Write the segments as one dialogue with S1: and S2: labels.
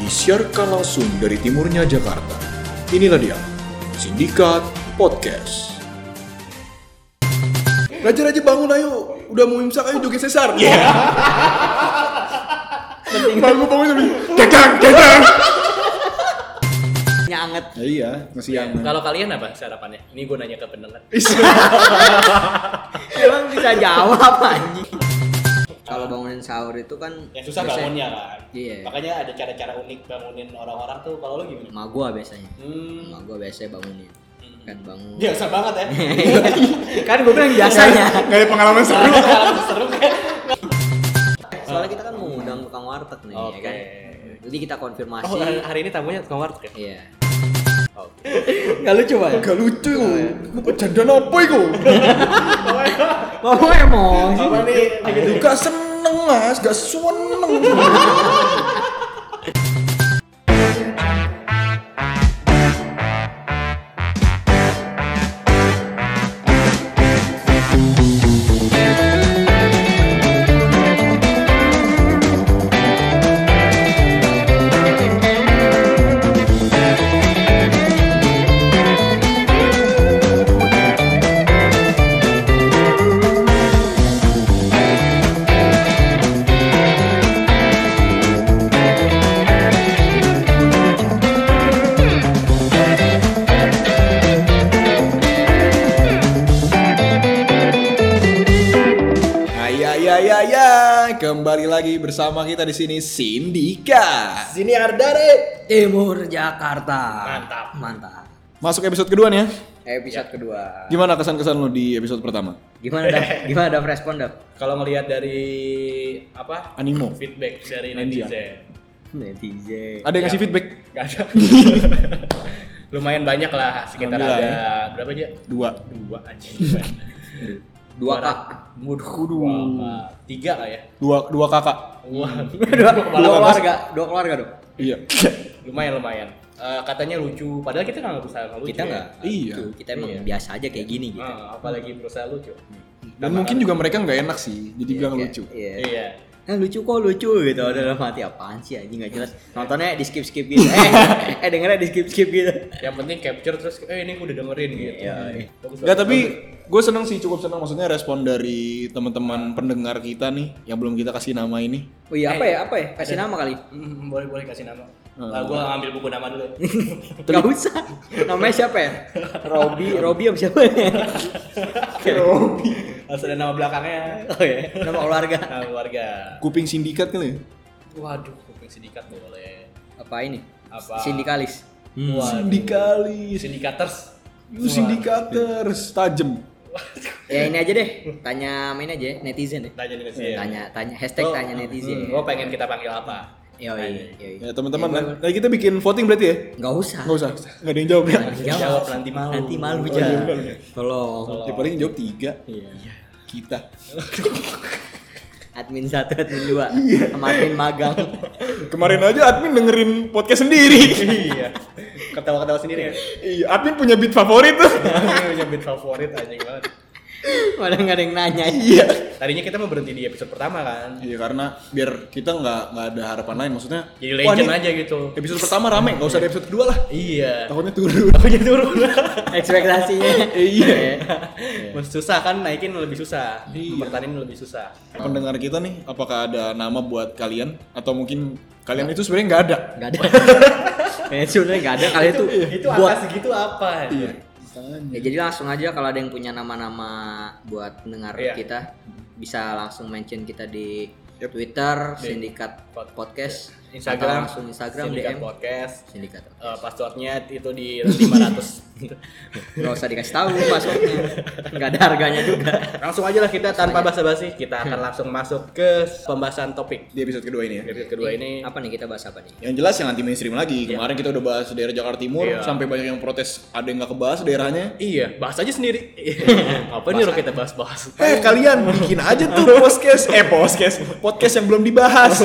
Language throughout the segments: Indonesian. S1: disiarkan langsung dari timurnya Jakarta. Inilah dia, Sindikat Podcast. Raja-raja bangun ayo, udah mau imsak ayo joget sesar. Iya. bangun bangun tapi dadang dadang.
S2: Nya anget.
S1: Ya, iya, masih yang.
S3: Kalau kalian apa sarapannya? Ini gue nanya ke pendengar.
S2: Emang bisa jawab anjing. Kalau bangunin sahur itu kan
S3: Yang Ya, susah
S2: biasanya-
S3: bangunnya kan.
S2: Iya.
S3: Makanya ada cara-cara unik bangunin orang-orang tuh. Kalau lo gimana?
S2: Emak gua biasanya.
S3: Hmm.
S2: Emak gua biasanya bangunin. Kan bangun.
S3: Biasa banget ya.
S2: kan gua bilang biasanya.
S1: Gak ada pengalaman seru.
S3: Pengalaman seru kan?
S2: Soalnya kita kan mau ngundang tukang warteg nih ya
S3: Oke.
S2: kan. Jadi kita konfirmasi.
S3: Oh, hari, hari ini tamunya tukang warteg ya?
S2: Iya.
S3: Gak lucu banget.
S1: Gak lucu, gue pejandan apa itu?
S2: Mau emosi.
S3: Apa nih?
S2: Iya.
S3: Gitu.
S1: Gak seneng mas, gak seneng. Hai, ya, ya, ya, ya. Kembali lagi bersama kita di sini Sindika.
S3: Sini Ardare.
S2: Timur Jakarta.
S3: Mantap.
S2: Mantap. Eh,
S1: Masuk episode kedua nih ya.
S2: Episode kedua.
S1: Gimana kesan-kesan lo di episode pertama?
S2: Gimana dah? Gimana dah respon dah?
S3: Kalau ngelihat dari apa?
S1: Animo.
S3: Feedback dari
S1: Andian.
S3: netizen.
S2: Netizen.
S1: Ada yang ngasih
S3: Ya.
S1: feedback?
S3: Gak ada. Lumayan banyak lah. Sekitar
S1: Alhamdulillah,
S3: ada
S2: ya.
S3: berapa aja?
S1: Dua.
S3: Dua anjing.
S2: Dua
S3: Dua
S2: kak.
S3: Waduh. Dua apa? Tiga lah ya.
S1: Dua, dua kakak.
S3: Wah,
S2: Dua, dua
S1: Malah, Mas.
S2: keluarga, dua keluarga dong.
S1: Iya.
S3: lumayan lumayan. Eh, katanya lucu, padahal kita nggak berusaha nggak lucu.
S2: Kita
S3: ya.
S2: nggak.
S1: Iya.
S2: lucu. Kita emang
S3: Iya.
S2: biasa aja kayak gini gitu.
S3: Eh, apalagi berusaha lucu.
S1: Dan mungkin juga mereka nggak enak sih, jadi bilang
S2: Kayak-
S1: lucu.
S2: Iya.
S3: Iya.
S2: Nah, lucu kok lucu gitu dalam hati apaan sih anjing nggak jelas nontonnya di skip skip gitu eh, eh dengernya di skip skip gitu
S3: Yang penting capture terus, eh ini gue udah dengerin gitu.
S2: Iya.
S3: Bagus,
S1: Nggak,
S3: bagus.
S1: tapi gue seneng sih, cukup seneng. Maksudnya respon dari
S2: Iya.
S1: teman-teman pendengar kita nih, yang belum kita kasih nama ini.
S2: oh iya apa ya apa ya kasih nama kali
S3: Hmm, boleh boleh kasih nama.
S1: Hmm.
S3: Eh, gue ngambil buku nama dulu. ya.
S2: nggak usah namanya siapa ya Robi Robi apa siapa ya
S3: Harus ada nama belakangnya.
S2: oh iya nama keluarga
S3: Nama keluarga.
S1: Kuping sindikat kali ya?
S3: Waduh, kuping sindikat boleh.
S2: apa ini
S3: Apa?
S2: sindikalis
S3: Waduh.
S1: Sindikalis.
S3: Sindikaters.
S1: You sindikaters. Tajem.
S2: ya ini aja deh tanya main aja ya, netizen deh
S3: Tanya nih sih.
S2: Iya, tanya tanya hashtag
S3: Lo-
S2: tanya netizen
S3: Iya. Hmm, lo pengen kita panggil apa?
S2: Yoi, yoi.
S1: Ya teman-teman,
S2: Iya,
S1: nah, kita bikin voting berarti ya?
S2: nggak usah
S1: Nggak usah, nggak ada yang jawab ya?
S3: Jawab, nanti malu.
S2: nanti malu
S3: Oh,
S2: aja
S3: iya,
S2: tolong
S3: Tolong.
S1: Ya paling yang jawab tiga
S2: iya
S1: kita.
S2: admin satu admin dua
S3: Iya.
S2: sama admin magang
S1: Kemarin aja admin dengerin podcast sendiri.
S3: iya. Ketawa-ketawa sendiri kan.
S1: Iya, admin punya beat favorit tuh.
S3: Ini punya band favorit anjing banget.
S2: malah nggak ada yang nanya
S1: Iya.
S3: Tadinya kita mau berhenti di episode pertama kan.
S1: Iya karena biar kita nggak nggak ada harapan lain maksudnya.
S3: Jadi
S1: wah,
S3: legend
S1: nih,
S3: aja gitu.
S1: Episode pertama rame, nggak usah ada episode kedua lah.
S3: Iya.
S1: Takutnya turun.
S3: Takutnya turun.
S2: ekspektasinya
S1: Iya.
S3: Mas susah kan naikin lebih susah.
S1: Iya.
S3: Pertanin lebih susah.
S1: Pendengar kita nih, apakah ada nama buat kalian atau mungkin kalian itu sebenarnya nggak ada?
S2: nggak ada kayaknya sebenarnya nggak ada kali itu iya.
S3: Iya, Itu
S2: buat
S3: angka segitu apa?
S2: ya jadi langsung aja kalau ada yang punya nama-nama buat dengar
S3: Iya.
S2: kita bisa langsung mention kita di
S1: Yep.
S2: Twitter
S3: Di
S2: sindikat
S3: pod- Iya.
S2: podcast atau
S3: Instagram,
S2: langsung Instagram
S3: Sindikat
S2: DM
S3: podcast.
S2: sindikat
S3: Eh, passwordnya itu di 500
S2: nggak usah dikasih tahu passwordnya nggak ada harganya juga
S3: langsung aja lah
S2: Iya.
S3: kita tanpa basa-basi kita akan langsung masuk ke pembahasan topik
S1: Di episode kedua ini ya.
S3: episode kedua ini
S2: apa nih kita bahas apa nih
S1: Yang jelas yang anti mainstream lagi. Kemarin kita udah bahas daerah Jakarta Timur
S3: Iya.
S1: sampai banyak yang protes ada yang nggak kebahas daerahnya.
S3: Iya, bahas aja sendiri.
S2: Iya.
S3: Apa nih lo kita bahas-bahas?
S1: Eh kalian bikin aja tuh podcast eh podcast podcast yang belum dibahas.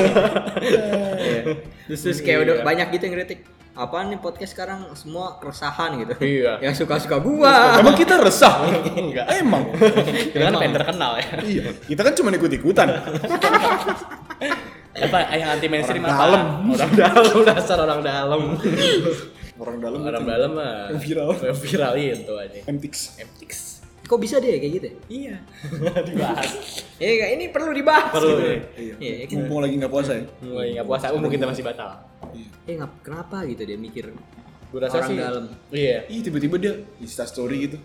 S2: Terus, terus kayak udah
S3: Iya.
S2: banyak gitu yang kritik. Apaan nih podcast sekarang semua keresahan gitu.
S3: Iya.
S2: Yang suka-suka gua.
S1: Emang kita resah?
S3: Enggak.
S1: Emang.
S3: Kita kan pengen terkenal ya.
S1: Iya, kita kan cuma ikut-ikutan.
S3: apa eh, yang anti mainstream
S1: Orang
S3: apa?
S1: dalam.
S3: Orang dalam dasar orang dalam.
S1: Orang dalam gitu.
S3: orang dalam mah
S1: Yang viral.
S3: yang viral itu aja.
S1: Antics.
S3: Mtix.
S2: Kok bisa deh kayak gitu? ya?
S3: Iya. Dibahas.
S2: Ya ini perlu dibahas. gitu.
S3: Perlu deh.
S2: Iya,
S1: Iya.
S2: iya.
S1: Mumpung lagi nggak puasa ya.
S3: Mulai nggak puasa, umum kita masih batal.
S1: Iya.
S2: Eh ngap- kenapa gitu dia mikir?
S3: Gue rasa
S2: Orang
S3: sih.
S2: dalam.
S3: Iya.
S1: Ih tiba-tiba dia Insta story gitu.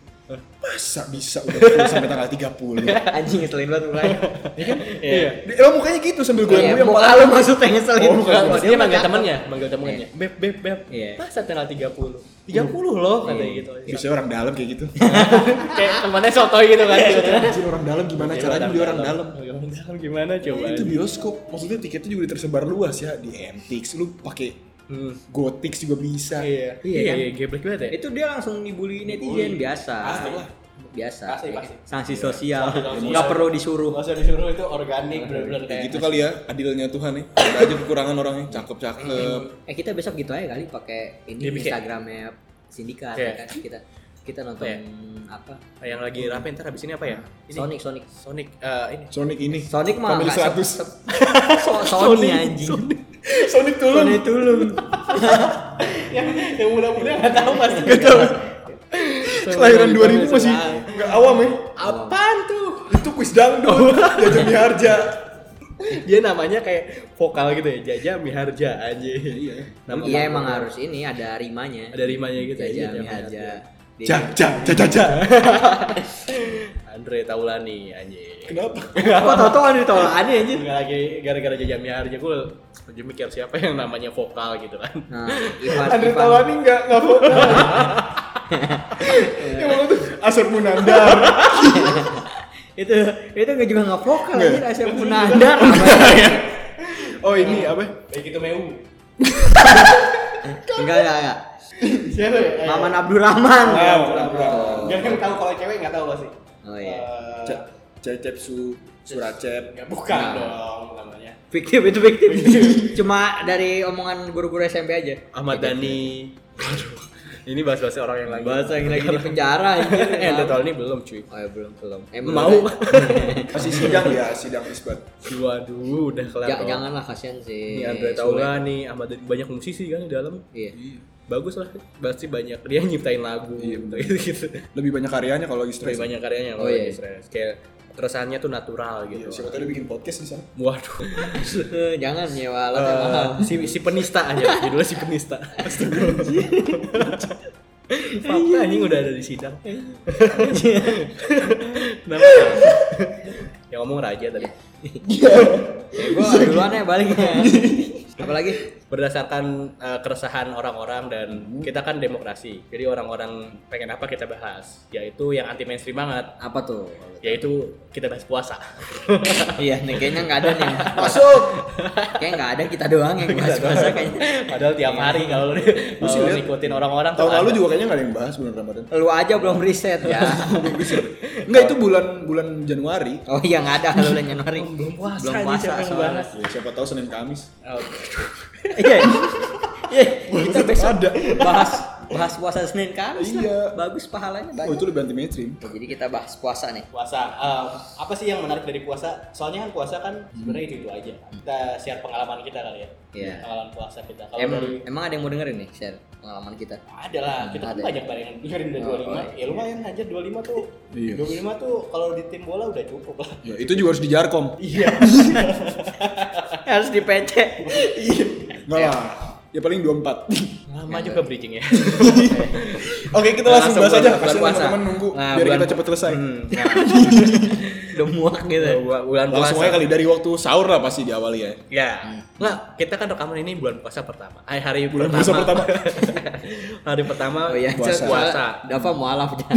S1: Masa bisa udah full sampai tanggal 30?
S2: Anjing ngeselin banget mulai.
S3: Iya.
S1: Dia- Emang mukanya gitu sambil gue
S2: Iya,
S1: yang
S2: muka
S1: pala.
S2: lu maksudnya ngeselin.
S3: Oh, bukan.
S2: Muka
S3: Dia manggil
S2: cakep.
S3: temannya, manggil temannya. Beb, beb, beb.
S2: Iya.
S3: Masa tanggal 30? 30 loh katanya
S2: Iya.
S3: gitu.
S1: Biasanya orang dalam kayak gitu.
S3: Kayak temannya sotoy gitu kan.
S1: Anjir orang dalam gimana caranya beli orang dalam?
S3: Orang Iya, dalam Iya, gimana coba?
S1: Itu bioskop. Maksudnya tiketnya juga tersebar luas ya di Mtix. Lu pakai
S3: Hmm.
S1: Gotix juga bisa.
S3: Iya.
S2: Iya,
S3: Iya,
S2: kan?
S3: iya, geblek banget ya.
S2: Itu dia langsung dibully netizen biasa.
S1: Pasti lah.
S2: Biasa.
S3: Pasti, pasti.
S2: Sanksi sosial.
S3: Iya. Sanksi sosial.
S2: Enggak perlu disuruh.
S3: Gak usah disuruh itu organik bener-bener
S1: Kayak
S3: Iya, kayak
S1: gitu kali ya adilnya Tuhan nih. Ada aja kekurangan orangnya, cakep-cakep.
S2: Eh kita besok gitu aja kali pakai ini
S3: Iya, bikin.
S2: Instagramnya sindikat
S3: Iya.
S2: ya kan kita kita nonton
S3: Iya.
S2: apa?
S3: Ah, yang lagi rame ntar habis ini apa ya? Ini.
S2: Sonic Sonic.
S3: Sonic eh, ini.
S1: Sonic ini.
S2: Sonic mah
S1: Family
S2: nggak se-
S1: 100.
S2: se- so- Sony anjing.
S1: Sonic turun.
S2: Sony tulung.
S3: yang Ya, yang muda-muda nggak tahu pasti.
S1: Gak tau. Kelahiran 2000 masih nggak awam ya.
S3: Apaan tuh?
S1: Itu kuis dangdut. Ya, Jajan diharja.
S3: Dia namanya kayak vokal gitu ya, Jaja Miharja aja.
S1: Iya.
S3: Nama
S2: Iya
S3: panggung.
S2: emang harus ini ada rimanya.
S3: Ada rimanya gitu
S2: Jaja
S3: Jaja
S2: Miharja. Dia-
S1: Ja, ja, ja, ja, ja.
S3: Andre Taulani anjing.
S1: Kenapa?
S2: Kok tau-tau ada ditolaknya anjing.
S3: Nggak lagi gara-gara Jaja Miharja gue lagi mikir siapa yang namanya vokal gitu kan.
S2: Nah, Ivan
S1: Andre
S2: Ivan-
S1: Taulani nggak nggak vokal. Emang itu Asar Munandar.
S2: itu itu nggak juga nggak vokal
S1: Nggak.
S2: anjir Asyaf Munandar
S1: Oh ini apa?
S3: Kayak gitu Meu.
S2: enggak enggak enggak
S3: Siapa ya?
S2: Maman Abdurrahman
S1: Ah, Maman Abdurrahman.
S3: Gak yang tahu kalau cewek nggak tahu pasti.
S2: oh iya
S3: Eh,
S1: Ce- Cecep su Suracep.
S3: nggak bukan
S2: Nah.
S3: dong namanya.
S2: fiktif itu fiktif cuma dari omongan guru-guru SMP aja
S3: Ahmad Dhani. Aduh. Ini bahas-bahas orang yang lagi.
S2: bahasa yang lagi di penjara anjir
S3: Eh, Andre Taulani belum cuy.
S2: oh ya belum belum eh, belum.
S3: Mau?
S1: Masih sidang ya sidang isbat.
S3: Waduh, udah kelar.
S2: Ja-
S3: dong.
S2: janganlah kasihan sih
S3: Ini
S2: Sulit.
S3: Andre kan? Taulani, Ahmad Dhani banyak musisi kan di dalam.
S2: iya
S3: Bagus lah, pasti banyak dia nyiptain lagu gitu gitu.
S1: Lebih banyak karyanya kalau lagi
S3: Lebih
S1: stres.
S3: banyak
S2: Iya,
S3: karyanya
S2: Oh,
S3: kalau
S2: iya.
S3: di stress. Kayak keresahannya tuh natural
S1: Iya,
S3: gitu.
S1: siapa tahu dia bikin podcast di sana.
S3: Waduh.
S2: Eh, jangan nyewa alat yang mahal
S3: Eh, si si penista aja, judulnya si penista. Fakta anjing udah ada di sidang. Kenapa? Yang ngomong raja tadi.
S2: ya, gua duluan ya baliknya apalagi
S3: Berdasarkan eh, keresahan orang-orang dan kita kan demokrasi. Jadi orang-orang pengen apa kita bahas, yaitu yang anti mainstream banget,
S2: apa tuh
S3: yaitu kita bahas puasa.
S2: iya nih kayaknya nggak ada nih
S1: Masuk.
S2: kayak nggak ada kita doang yang bahas bahasa kayaknya
S3: Padahal tiap hari kalau lu
S1: Iya. Lu sih
S3: kalau lu
S1: lihat,
S3: ngikutin orang-orang tuh
S1: Tahun lalu
S3: ada.
S1: juga kayaknya nggak ada yang bahas bulan Ramadan.
S2: lu aja belum riset ya
S1: Enggak itu bulan bulan Januari.
S2: oh iya nggak ada kalau bulan Januari
S3: belum puasa,
S2: belum
S3: ini
S2: puasa
S3: siapa yang
S2: soalnya.
S3: bahas?
S1: Ya, siapa tahu Senin Kamis.
S2: iya Iya, kita
S1: tetap
S2: besok
S1: ada.
S2: bahas bahas puasa Senin Kamis lah.
S1: Iya.
S2: bagus pahalanya
S1: Oh
S2: banyak
S1: itu lebih anti mainstream.
S2: jadi kita bahas puasa nih
S3: puasa eh, apa sih yang menarik dari puasa soalnya kan puasa kan sebenarnya itu itu aja kita share pengalaman kita kali ya
S2: Hmm. Iya.
S3: pengalaman puasa kita kalau
S2: Em,
S3: dari
S2: emang ada yang mau dengerin nih share pengalaman kita
S3: ada lah kita kan
S2: Ada.
S3: banyak banget yang dengerin dari
S2: Oh,
S3: dua lima
S2: oh,
S3: ya lumayan aja dua lima tuh
S1: Iya.
S3: dua lima tuh kalau di tim bola udah cukup lah
S1: Ya, itu juga harus di Jarkom.
S3: iya
S2: harus di PC
S1: Enggak lah. Ya paling 24.
S3: lama juga bridging ya
S1: Oke, kita langsung bahas aja.
S2: bulan
S1: Kasihan
S2: puasa
S1: teman-teman nunggu
S2: Nah,
S1: biar
S2: bulan-
S1: kita cepat selesai.
S2: Hmm, ya. udah muak gitu
S3: bulan
S1: Langsung aja kali dari waktu sahur lah pasti di awal ya.
S2: Hmm.
S3: Ya, nggak kita kan rekaman ini bulan puasa pertama. Ay, hari
S1: Bulan
S3: pertama.
S1: puasa pertama.
S3: hari pertama
S2: oh iya
S1: Puasa.
S3: Puasa.
S2: Dafa mualaf dah.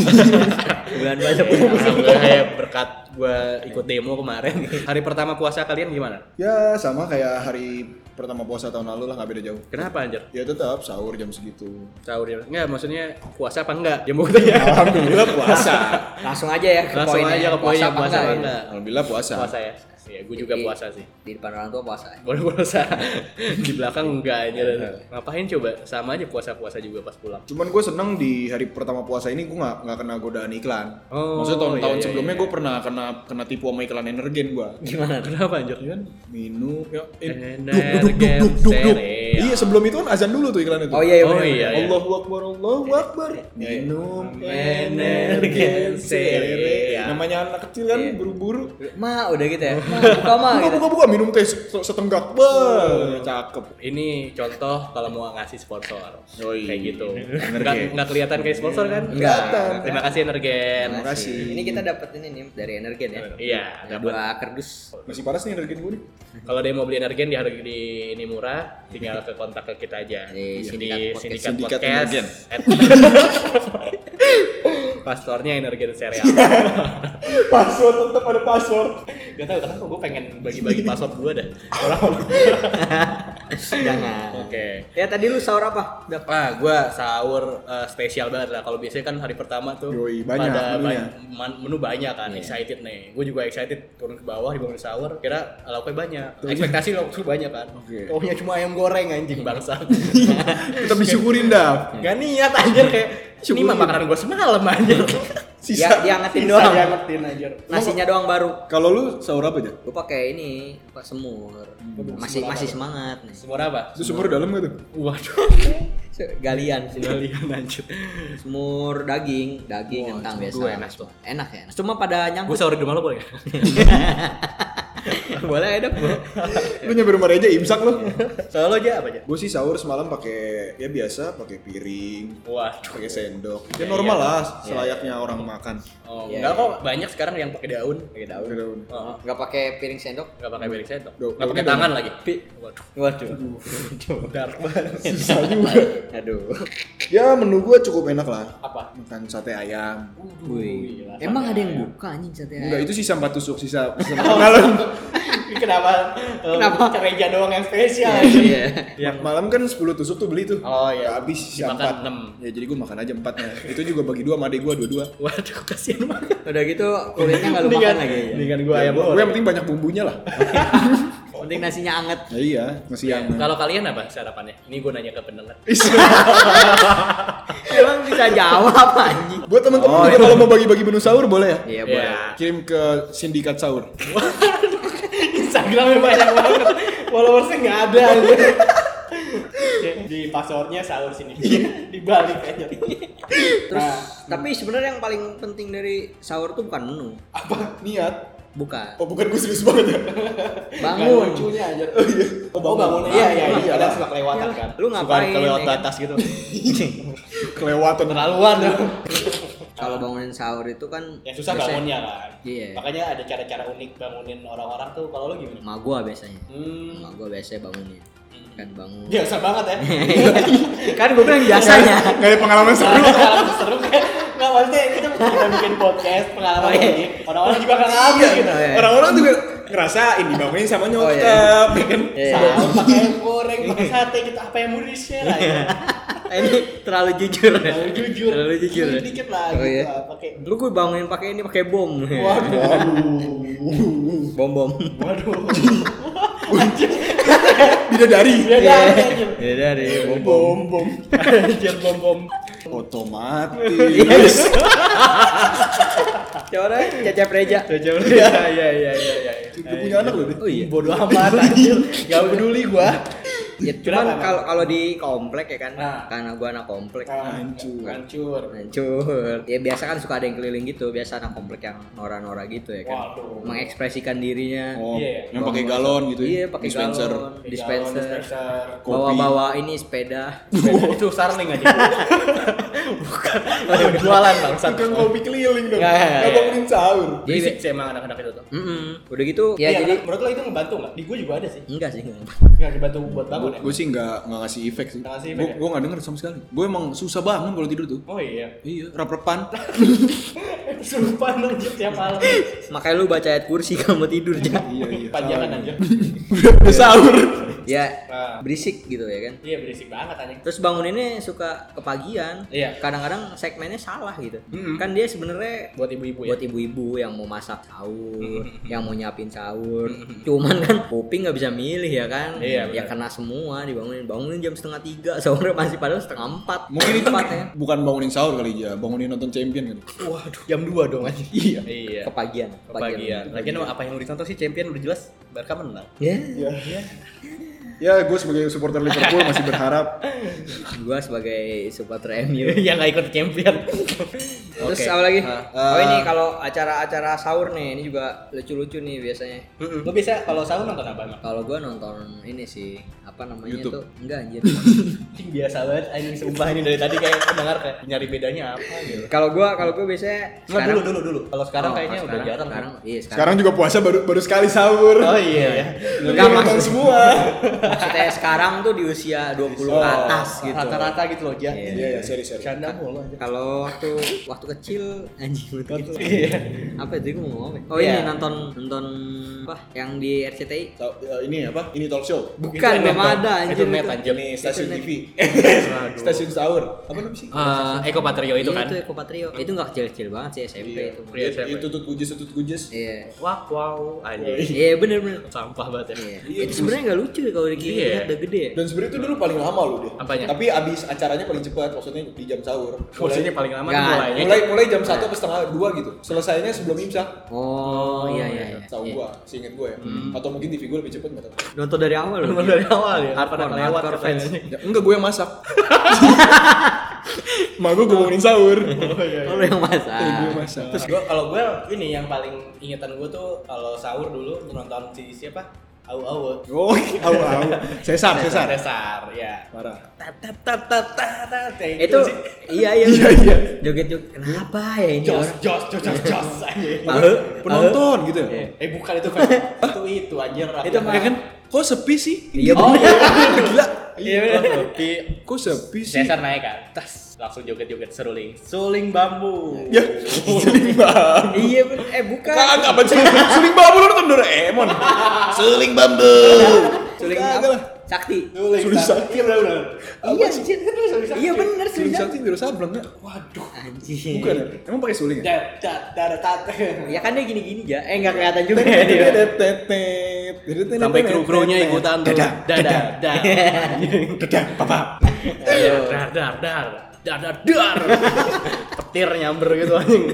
S2: bulan puasa
S3: Alhamdulillah ya berkat gue ikut demo kemarin. Hari pertama puasa kalian gimana?
S1: Ya sama kayak hari pertama puasa tahun lalu lah nggak beda jauh.
S3: Kenapa anjir?
S1: Ya tetap sahur jam segitu.
S3: Sahur ya? Enggak, maksudnya puasa apa enggak? Ya mau tanya.
S1: Alhamdulillah puasa.
S2: langsung aja ya ke
S3: Langsung
S2: poinnya
S3: aja ke poinnya puasa apa
S2: ya?
S3: enggak?
S1: Alhamdulillah puasa.
S3: Puasa ya. Iya, gue juga
S2: Jadi,
S3: puasa sih.
S2: Di depan orang tua puasa.
S3: Boleh puasa. di belakang enggak aja. Ngapain coba? Sama aja puasa-puasa juga pas pulang.
S1: Cuman gue seneng di hari pertama puasa ini gue nggak nggak kena godaan iklan.
S3: Oh,
S1: Maksudnya tahun-tahun
S3: iya, iya,
S1: sebelumnya
S3: iya.
S1: gue pernah kena kena tipu sama iklan energen gue.
S2: Gimana? tuh?
S3: Kenapa anjir?
S1: Kan minum ya eh,
S3: Energen
S1: duk duk duk duk duk duk.
S3: cereal.
S1: Iya sebelum itu kan azan dulu tuh iklan itu.
S2: Oh iya, iya,
S3: Oh
S2: bener,
S3: iya.
S2: bener.
S1: Allahu Akbar, Allahu Akbar. Minum
S2: Energen
S1: energen
S3: cereal.
S1: cereal. Namanya anak kecil kan
S2: Iya.
S1: buru-buru.
S2: Ma udah gitu ya. Ma, buka ma
S1: Buka
S2: gitu.
S1: buka buka minum teh se- setenggak. Bah, cakep.
S3: Ini contoh kalau mau ngasih sponsor.
S1: Yoi.
S3: Kayak gitu.
S1: Energen.
S3: Enggak enggak kelihatan kayak sponsor kan?
S2: Enggak.
S3: Terima kasih Energen.
S1: Terima kasih.
S2: Ini kita dapat ini nih dari energen ya.
S3: Iya,
S2: Ada
S3: dapat.
S2: dua kardus.
S1: Masih panas nih energen gue nih.
S3: Kalau dia mau beli energen di harga di ini murah, tinggal ke kontak ke kita aja.
S2: Di Sindikat
S3: di
S2: Podcast.
S3: sindikat,
S1: Sindikat
S3: podcast.
S1: Energen.
S3: Pastornya energen serial.
S1: Password tetap ada password.
S3: Gak tau kenapa gue pengen bagi-bagi password gue dah. Orang
S2: Jangan.
S3: Oke.
S2: Ya tadi lu sahur apa? Dap.
S3: Ah, gue sahur eh, spesial banget lah. Kalau biasanya kan hari pertama tuh
S1: Yoi, banyak
S3: pada
S1: menunya.
S3: ba- man- menu banyak kan. Excited nih. Gue juga excited turun ke bawah di bangun sahur. Kira lauknya banyak. Ekspektasi lauknya banyak kan.
S1: Oke.
S3: Taunya cuma ayam goreng anjing bangsa.
S1: Kita disyukurin dah.
S3: Gak niat anjir kayak ini mah
S1: Syukurin.
S3: makanan gue semalam anjir.
S2: Ya, dia ngetin
S3: Sisa
S2: doang.
S3: diangetin anjir.
S2: Nasinya doang baru.
S1: Kalau lu sahur apa aja?
S2: Gue pakai ini, apa semur. Masih
S3: semur
S2: masih
S3: apa?
S2: semangat nih.
S3: Semur apa?
S1: Itu sumur dalam gak tuh?
S3: Waduh.
S2: Galian sih.
S3: Kalian anjir.
S2: Semur daging, daging kentang biasa.
S3: gue enak tuh.
S2: Enak ya. Cuma pada
S3: Gue
S2: nyangkut.
S3: sahur di rumah lo boleh gak?
S2: Boleh ada bro.
S1: Lu nyampe rumah aja imsak lu.
S3: Sahur lo aja apa aja?
S1: Gue sih sahur semalam pakai ya biasa, pakai piring,
S3: Waduh.
S1: pakai sendok.
S3: Iya,
S1: Ya normal
S3: iya.
S1: lah,
S2: Iya.
S1: selayaknya orang makan.
S3: Oh,
S2: Iya,
S3: enggak
S2: iya.
S3: kok banyak sekarang yang pakai daun. Pakai daun.
S1: Pakai daun.
S3: Oh,
S2: Enggak pakai piring sendok.
S3: enggak pakai berik sendok.
S1: Daun-
S3: Enggak pakai
S1: daun-
S3: tangan lagi.
S2: Pi-
S3: Waduh.
S2: Waduh.
S3: Dark banget.
S1: Susah juga.
S2: Aduh.
S1: Ya menu gue cukup enak lah.
S3: Apa?
S1: Makan sate ayam.
S2: Wih.
S3: gila,
S2: Emang
S3: sate
S2: ada yang
S3: ayam.
S2: buka anjing
S3: Iya.
S2: sate ayam?
S1: Enggak, itu sisa empat tusuk, sisa sisa malam.
S3: Oh. Kenapa?
S2: Kenapa?
S3: Kenapa? Cereja doang yang spesial. anjing.
S2: Iya.
S1: Yang malam kan 10 tusuk tuh beli tuh.
S3: Oh, iya.
S1: Nggak Habis sisa
S3: Dimakan
S1: empat.
S3: enam.
S1: Ya jadi gue makan aja empatnya. itu juga bagi dua sama adik gue dua-dua.
S3: Waduh, kasihan banget.
S2: Udah gitu kulitnya enggak lu makan lagi. ya?
S3: Mendingan kan- gua
S1: Gue
S3: ayam
S1: gue yang
S3: goreng.
S1: penting banyak bumbunya lah.
S2: Penting nasinya anget.
S1: Ya iya, masih yang.
S3: Kalau kalian apa sarapannya? Ini gue nanya ke pendengar.
S2: Emang bisa jawab anjing.
S1: Buat teman-teman juga kalau mau bagi-bagi menu sahur boleh ya?
S2: Iya,
S3: Oh, Iya.
S2: boleh.
S1: Kirim ke sindikat sahur.
S3: Instagramnya banyak banget. Followersnya nggak ada aja. di passwordnya sahur sini dibalik aja
S2: Terus
S3: Nah.
S2: tapi sebenarnya yang paling penting dari sahur tuh bukan menu.
S1: Apa? Niat?
S2: Bukan.
S1: Oh bukan gue serius banget ya?
S2: Bangun.
S3: aja oh bangun, iya iya iya kadang suka kelewatan
S2: Iyalah,
S3: kan
S2: lu ngapain,
S3: suka kelewat
S2: ya kan?
S3: batas gitu
S1: Kelewatan.
S3: terlaluan dong
S2: Kalau bangunin sahur itu kan
S3: yang Ya, susah
S2: biasanya-
S3: bangunnya kan
S2: Iya.
S3: makanya ada cara-cara unik bangunin orang-orang tuh kalau lu gimana
S2: Emak gua biasanya.
S3: hmm
S2: Emak gua biasanya bangunin. Kan bangun.
S3: biasa banget ya
S2: kan gua bilang biasanya.
S1: Gak ada pengalaman seru.
S3: pengalaman seru kan nggak maksudnya kita kita bikin podcast pengalaman
S2: Oh, iya.
S3: ini orang-orang juga ngalamin
S2: Iya,
S3: gitu
S2: iya.
S1: Orang-orang juga ngerasain dibangunin sama
S2: Oh, iya.
S1: nyokap. ya kan?
S2: Iya.
S3: Sahur pakai ayam goreng, pakai sate gitu apa yang mau di share aja.
S2: Ini terlalu jujur.
S3: Terlalu jujur.
S2: Iya. Terlalu jujur.
S3: Dikit, dikit lah
S2: Oh,
S3: gitu
S2: iya.
S3: lah, pakai
S2: Lu gue bangunin pakai ini pakai bom.
S1: Waduh.
S2: Bom bom.
S3: waduh.
S2: Iya.
S3: Anjir.
S1: Bidadari.
S3: Iya, iya, anjir.
S2: Iya dari bom bom.
S1: Bom bom.
S3: Anjir bom bom.
S1: Otomatis.
S2: Coba deh, Ya cecep reja.
S3: Jauh
S2: iya,
S3: ya ya ya ya ya.
S1: Udah punya anak loh deh.
S2: Oh iya.
S3: Bodoh amat anjir. Gak peduli gua.
S2: Ya,
S3: Kenapa,
S2: cuman kalau kalau di komplek ya kan,
S3: Ah.
S2: karena gua anak komplek.
S3: Nah.
S1: Hancur.
S3: Hancur.
S2: Hancur. Ya biasa kan suka ada yang keliling gitu, biasa anak komplek yang nora-nora gitu ya kan.
S3: Waduh.
S2: Mengekspresikan dirinya.
S1: Oh,
S3: Iya.
S1: yang pakai galon gitu
S2: Iya, pakai
S1: Dispenser.
S2: galon, dispenser.
S1: kopi.
S2: Bawa-bawa ini sepeda.
S3: Itu sarling aja. Bukan. Jualan bangsat.
S1: Bukan kopi keliling dong.
S3: Iya, iya, iya.
S1: Gak bangunin sahur.
S3: Berisik sih emang anak-anak itu tuh.
S2: Mm-mm. Udah gitu ya
S3: Iya,
S2: jadi
S3: menurut lo itu ngebantu nggak? Di gua juga ada sih.
S2: enggak sih. enggak.
S3: Nggak dibantu buat bangun ya?
S1: Gue sih nggak nggak ngasih efek sih.
S3: Nggak ngasih efek
S1: Gue
S3: ya?
S1: gue nggak denger sama sekali. Gue emang susah banget kalau tidur tuh.
S3: Oh iya.
S1: Iya, rap-rapan.
S3: Kesurupan anjir tiap malam.
S2: Makanya lu baca ayat kursi kamu tidur aja.
S1: iya iya.
S3: Panjangan anjir.
S1: Udah sahur.
S2: ya
S3: Nah.
S2: berisik gitu ya kan
S3: Iya berisik banget anjing.
S2: terus banguninnya suka kepagian
S3: Iya.
S2: kadang-kadang segmennya salah gitu
S1: Mm-mm.
S2: kan dia sebenarnya
S3: Buat ibu-ibu ya.
S2: buat ibu-ibu yang mau masak sahur,
S3: Mhm.
S2: yang mau nyiapin sahur. Cuman kan kuping nggak bisa milih ya kan?
S3: Mm-hmm. Iya,
S2: ya kena
S3: benar.
S2: semua dibangunin, bangunin jam setengah tiga, sahurnya masih padahal setengah empat.
S1: Mungkin itu
S2: empat ya.
S1: bukan bangunin sahur kali ya, bangunin nonton champion kali.
S3: Waduh, jam 2 dong anjing. Iya. Iya.
S2: Kepagian,
S3: Kepagian. Lagian apa yang udah ditonton sih champion udah jelas Barca menang.
S2: Ya,
S1: Ya. ya, gue sebagai supporter Liverpool masih berharap
S2: gua sebagai supporter MU.
S3: yang nggak ikut champion.
S2: Terus
S3: Oke. Eh.
S2: apa lagi?
S1: Ah.
S2: oh ini kalau acara-acara sahur nih, ini juga lucu-lucu nih biasanya.
S3: Mm-mm. Lu bisa kalau sahur nonton apa emang?
S2: Kalau gua nonton ini sih, apa namanya
S1: YouTube.
S2: tuh? Enggak anjir.
S3: Anjing, Biasa banget anjing sumpah ini dari tadi kayak pendengar kayak nyari bedanya apa gitu.
S2: kalau gua kalau gua biasanya
S3: Enggak
S2: sekarang-
S3: dulu dulu dulu. Kalau sekarang
S2: Oh,
S3: kayaknya udah
S2: sekarang-
S3: jarang. ya.
S2: Sekarang, iya, sekarang
S1: sekarang juga puasa baru baru sekali sahur.
S3: Oh iya ya.
S1: Enggak nonton
S2: maksud-
S1: semua.
S2: maksudnya sekarang tuh di usia 20
S1: Oh,
S2: ke atas gitu.
S3: Rata-rata gitu loh, Jan.
S2: Iya.
S1: Iya, ya, sorry, sorry.
S3: Canda mulu aja.
S2: Kalau waktu waktu kecil anjing waktu kecil.
S3: Iya.
S2: Apa itu gue mau ngomong apa? ya? Oh
S3: Iya.
S2: ini nonton nonton apa yang di RCTI?
S1: Tau- ya, ini apa? Ini talk show.
S2: Bukan
S3: Itu
S2: belum
S3: net,
S2: ada
S3: Bang.
S2: anjir.
S3: Itu net, anjir.
S1: Ini stasiun
S2: Itu net.
S1: TV. stasiun sahur. Apa namanya sih?
S3: Eh, Eko Patrio itu kan.
S2: Iya, Itu Eko Patrio. Itu enggak kecil-kecil banget sih SMP itu.
S3: Iya,
S1: Iya, itu tutut kujes, tutut kujes.
S2: Iya.
S3: Wow, wow, anjing.
S2: Iya bener bener.
S3: Sampah banget ya.
S2: Iya. Itu sebenarnya enggak lucu kalau
S3: Iya.
S2: dikira udah gede ya.
S1: Dan sebenarnya itu dulu paling lama loh deh.
S3: Apanya?
S1: Tapi abis acaranya paling cepat, maksudnya di jam sahur.
S3: Mulainya paling lama tuh
S2: Nggak.
S3: mulainya.
S1: mulai mulai jam satu atau setengah dua gitu. Selesainya sebelum imsak.
S2: Oh, iya iya Hmm. iya.
S1: Tahu
S2: Iya.
S1: gua, seinget gua ya. Atau mungkin TV gua lebih cepet nggak tahu.
S2: Nonton dari awal loh.
S3: Bener dari awal ya.
S2: Hardcore,
S3: Pernah lewat
S2: hardcore
S3: katanya.
S2: fans.
S1: Ya, enggak gua yang masak. Mak gua gua bangunin sahur.
S2: Oh, lu
S1: Iya,
S2: yang
S1: gua yang
S2: masak.
S1: masak.
S3: Terus gua kalau gue ini yang paling ingetan gue tuh kalau sahur dulu nonton si siapa? Au au.
S1: Oh, au au. Sesar, sesar. Eh?
S3: Cesar, ya.
S1: Parah.
S3: Tat tat tat tat tat. tat. Ya,
S2: Itu
S3: sih.
S2: iya iya.
S1: Iya, iya.
S2: Joget joget. Kenapa ya ini
S3: jos
S2: orang?
S3: jos jos jos jos
S2: Iya.
S3: aja.
S2: Halo?
S1: Penonton gitu ya.
S3: Eh bukan itu kan. itu itu anjir. Iya,
S2: Itu mah-
S1: Ya kan? Kok sepi sih?
S2: Iya
S3: Oh,
S2: bener.
S1: Gila.
S3: Iya bener. Di
S1: Kok sepi sih?
S3: Cesar naik ke atas langsung joget-joget seruling. Suling bambu.
S1: Ya, jadi bang.
S2: Iya bener. Eh bukan.
S1: Kagak apa sih? Suling bambu lu nonton Eh, Doraemon. Suling bambu.
S2: Suling
S1: Kagak
S2: apa?
S1: lah.
S2: Sakti.
S3: Suling
S1: Suling
S3: sakti. Iya bener.
S2: Iya anjir. Iya bener
S1: Suling
S2: suling sakti.
S1: sakti Wiro Sableng ya?
S3: Waduh.
S2: Anjir.
S1: Bukan. ya? Emang pakai suling ya?
S3: Dat dat dat dat.
S2: Ya kan dia gini-gini aja. Eh enggak kelihatan juga ya dia.
S1: Tetetetetet.
S3: sampai kru krunya ikutan tuh
S1: Dadah, dadah,
S3: dadah dar
S1: dadah, papa.
S3: dar dar dar dar dar dar petir nyamber gitu anjing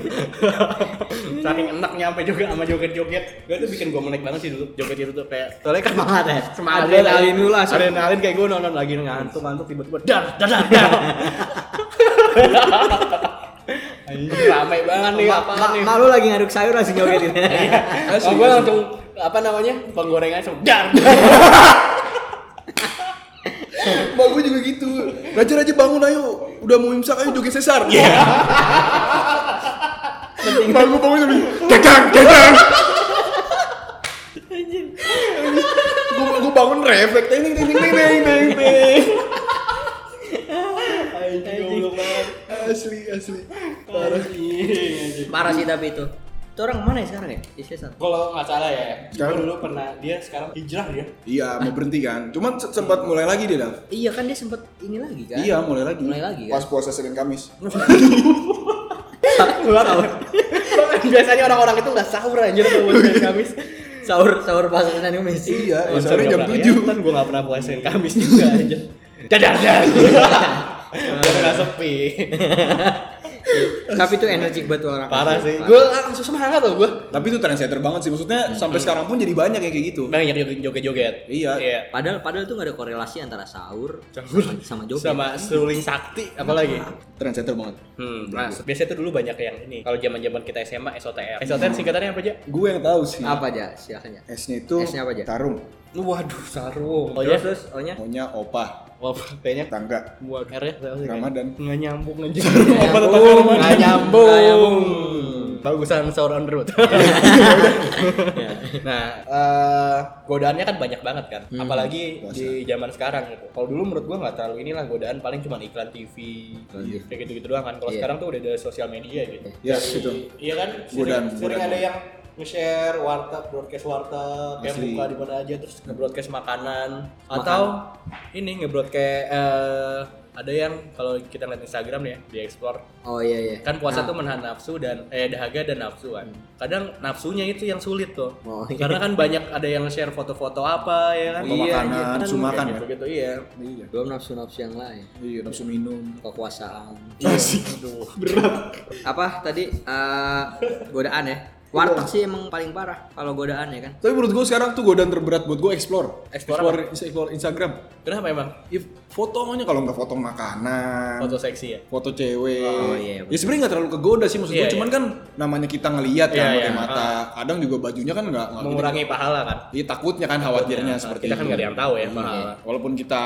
S3: saking enak nyampe juga sama joget joget gue tuh bikin gue melek banget sih dulu joget itu tuh kayak soalnya kan
S2: Semangat ya.
S3: semangat
S2: Adrenalin lu lah.
S3: adrenalin kayak gue nonton lagi ngantuk ngantuk tiba-tiba dar dar dar dar Anjing, rame banget nih apa
S2: Ma-
S3: nih
S2: ma lu lagi ngaduk sayur langsung joget gitu.
S1: Asli,
S3: gue
S1: asli.
S3: langsung apa namanya penggorengan langsung dar dar
S1: Mbak gue juga gitu. Raja Raja bangun ayo, udah mau imsak ayo joget sesar. Iya. Mbak gue bangun sambil dadang, dadang. Gue gue bangun refleks, ting ting ting ting ting ting ting. ting. Asli asli. Parah.
S2: Parah sih tapi itu. Itu orang mana ya sekarang ya? Di Cesar.
S3: Kalau nggak salah ya,
S1: Sekarang-
S3: gue dulu pernah dia sekarang hijrah dia.
S1: Iya mau berhenti kan, cuman se- sempat mulai lagi dia dong.
S2: Iya kan dia sempet ini lagi kan?
S1: Iya mulai lagi.
S2: Mulai lagi kan?
S1: Pas puasa Senin Kamis.
S3: Biasanya orang-orang itu nggak sahur anjir kalau puasa Kamis.
S2: Sahur sahur pas Senin Kamis.
S1: Iya, ya, sore jam tujuh.
S3: Kan gue nggak pernah puasain Kamis juga anjir. Dadar dadar. Udah sepi.
S2: Tapi itu energik banget tuh orang.
S3: Parah sih. Gue langsung semangat loh gue.
S1: Tapi itu trendsetter banget sih, maksudnya sampai sekarang pun jadi banyak yang kayak gitu.
S3: Banyak yang joget-joget.
S1: Iya.
S2: Padahal padahal tuh gak ada korelasi antara sahur
S3: Sahur.
S2: sama, sama joget.
S3: Sama seruling sakti apalagi.
S1: Trendsetter banget.
S3: Hmm, nah, biasanya tuh dulu banyak yang ini. Kalau zaman-zaman kita SMA SOTR. SOTR singkatannya apa aja?
S1: Gue yang tahu sih.
S2: Apa aja silahkan ya.
S1: S-nya itu
S2: S-nya apa aja?
S1: tarung,
S3: Waduh, sarung. Oh
S2: Terus
S3: ya.
S2: terus iya. ohnya
S1: maunya opah,
S3: Wah, kayaknya
S1: tangga,
S3: Waduh. ya? R-nya apa sih?
S1: Ramadan.
S3: Nggak nyambung aja.
S1: Apa tetangga Ramadan?
S3: Nggak
S2: Nggak
S3: nyambung.
S2: nyambung.
S3: Bagusan sahur on the road. nah, eh, godaannya kan banyak banget kan.
S2: Hmm.
S3: Apalagi
S1: Puasa.
S3: di zaman sekarang gitu. Kalau dulu menurut gua nggak terlalu inilah godaan paling cuma iklan TV.
S1: Iya.
S3: Kayak gitu-gitu doang kan. Kalau
S2: Iya.
S3: sekarang tuh udah ada sosial media gitu.
S1: Yes,
S3: Dari-
S1: gitu.
S3: Iya kan? Sering,
S1: Godaan,
S3: sering
S1: godaan.
S3: ada yang nge-share warteg, broadcast warteg, kayak
S1: Asli.
S3: buka di mana aja terus nge-broadcast makanan atau ini nge-broadcast eh, ada yang kalau kita lihat Instagram nih ya, di explore
S2: Oh iya iya.
S3: kan puasa
S2: Nah,
S3: tuh menahan nafsu dan eh dahaga dan nafsu kan kadang nafsunya itu yang sulit tuh
S2: Oh, iya.
S3: karena kan banyak ada yang share foto-foto apa ya kan
S1: Foto makanan, nafsu makan ya?
S3: gitu gitu iya
S1: Iya.
S2: belum nafsu nafsu Ah, yang lain.
S1: Iya, nafsu minum.
S2: Kekuasaan.
S3: aduh berat
S2: Apa tadi eh, godaan ya? Warteg sih emang paling parah kalau godaan ya kan.
S1: Tapi menurut gue sekarang tuh godaan terberat buat gue explore.
S3: Explore
S1: explore, explore Instagram.
S3: kenapa emang
S1: Ya, foto maunya kalau nggak foto makanan.
S3: foto seksi ya
S1: foto cewek.
S2: Oh, iya,
S1: ya sebenarnya nggak terlalu kegoda sih maksud
S3: Iya,
S1: gue, cuman kan namanya kita ngelihat kan
S3: Iya,
S1: pakai
S3: iya.
S1: mata. Kadang juga bajunya kan nggak nggak
S3: mengurangi pahala kan
S1: gede. Iya takutnya kan khawatirnya
S3: Nah,
S1: seperti
S3: kita
S1: itu.
S3: kan
S1: Nah,
S3: nggak ada yang tahu ya pahala
S1: Walaupun kita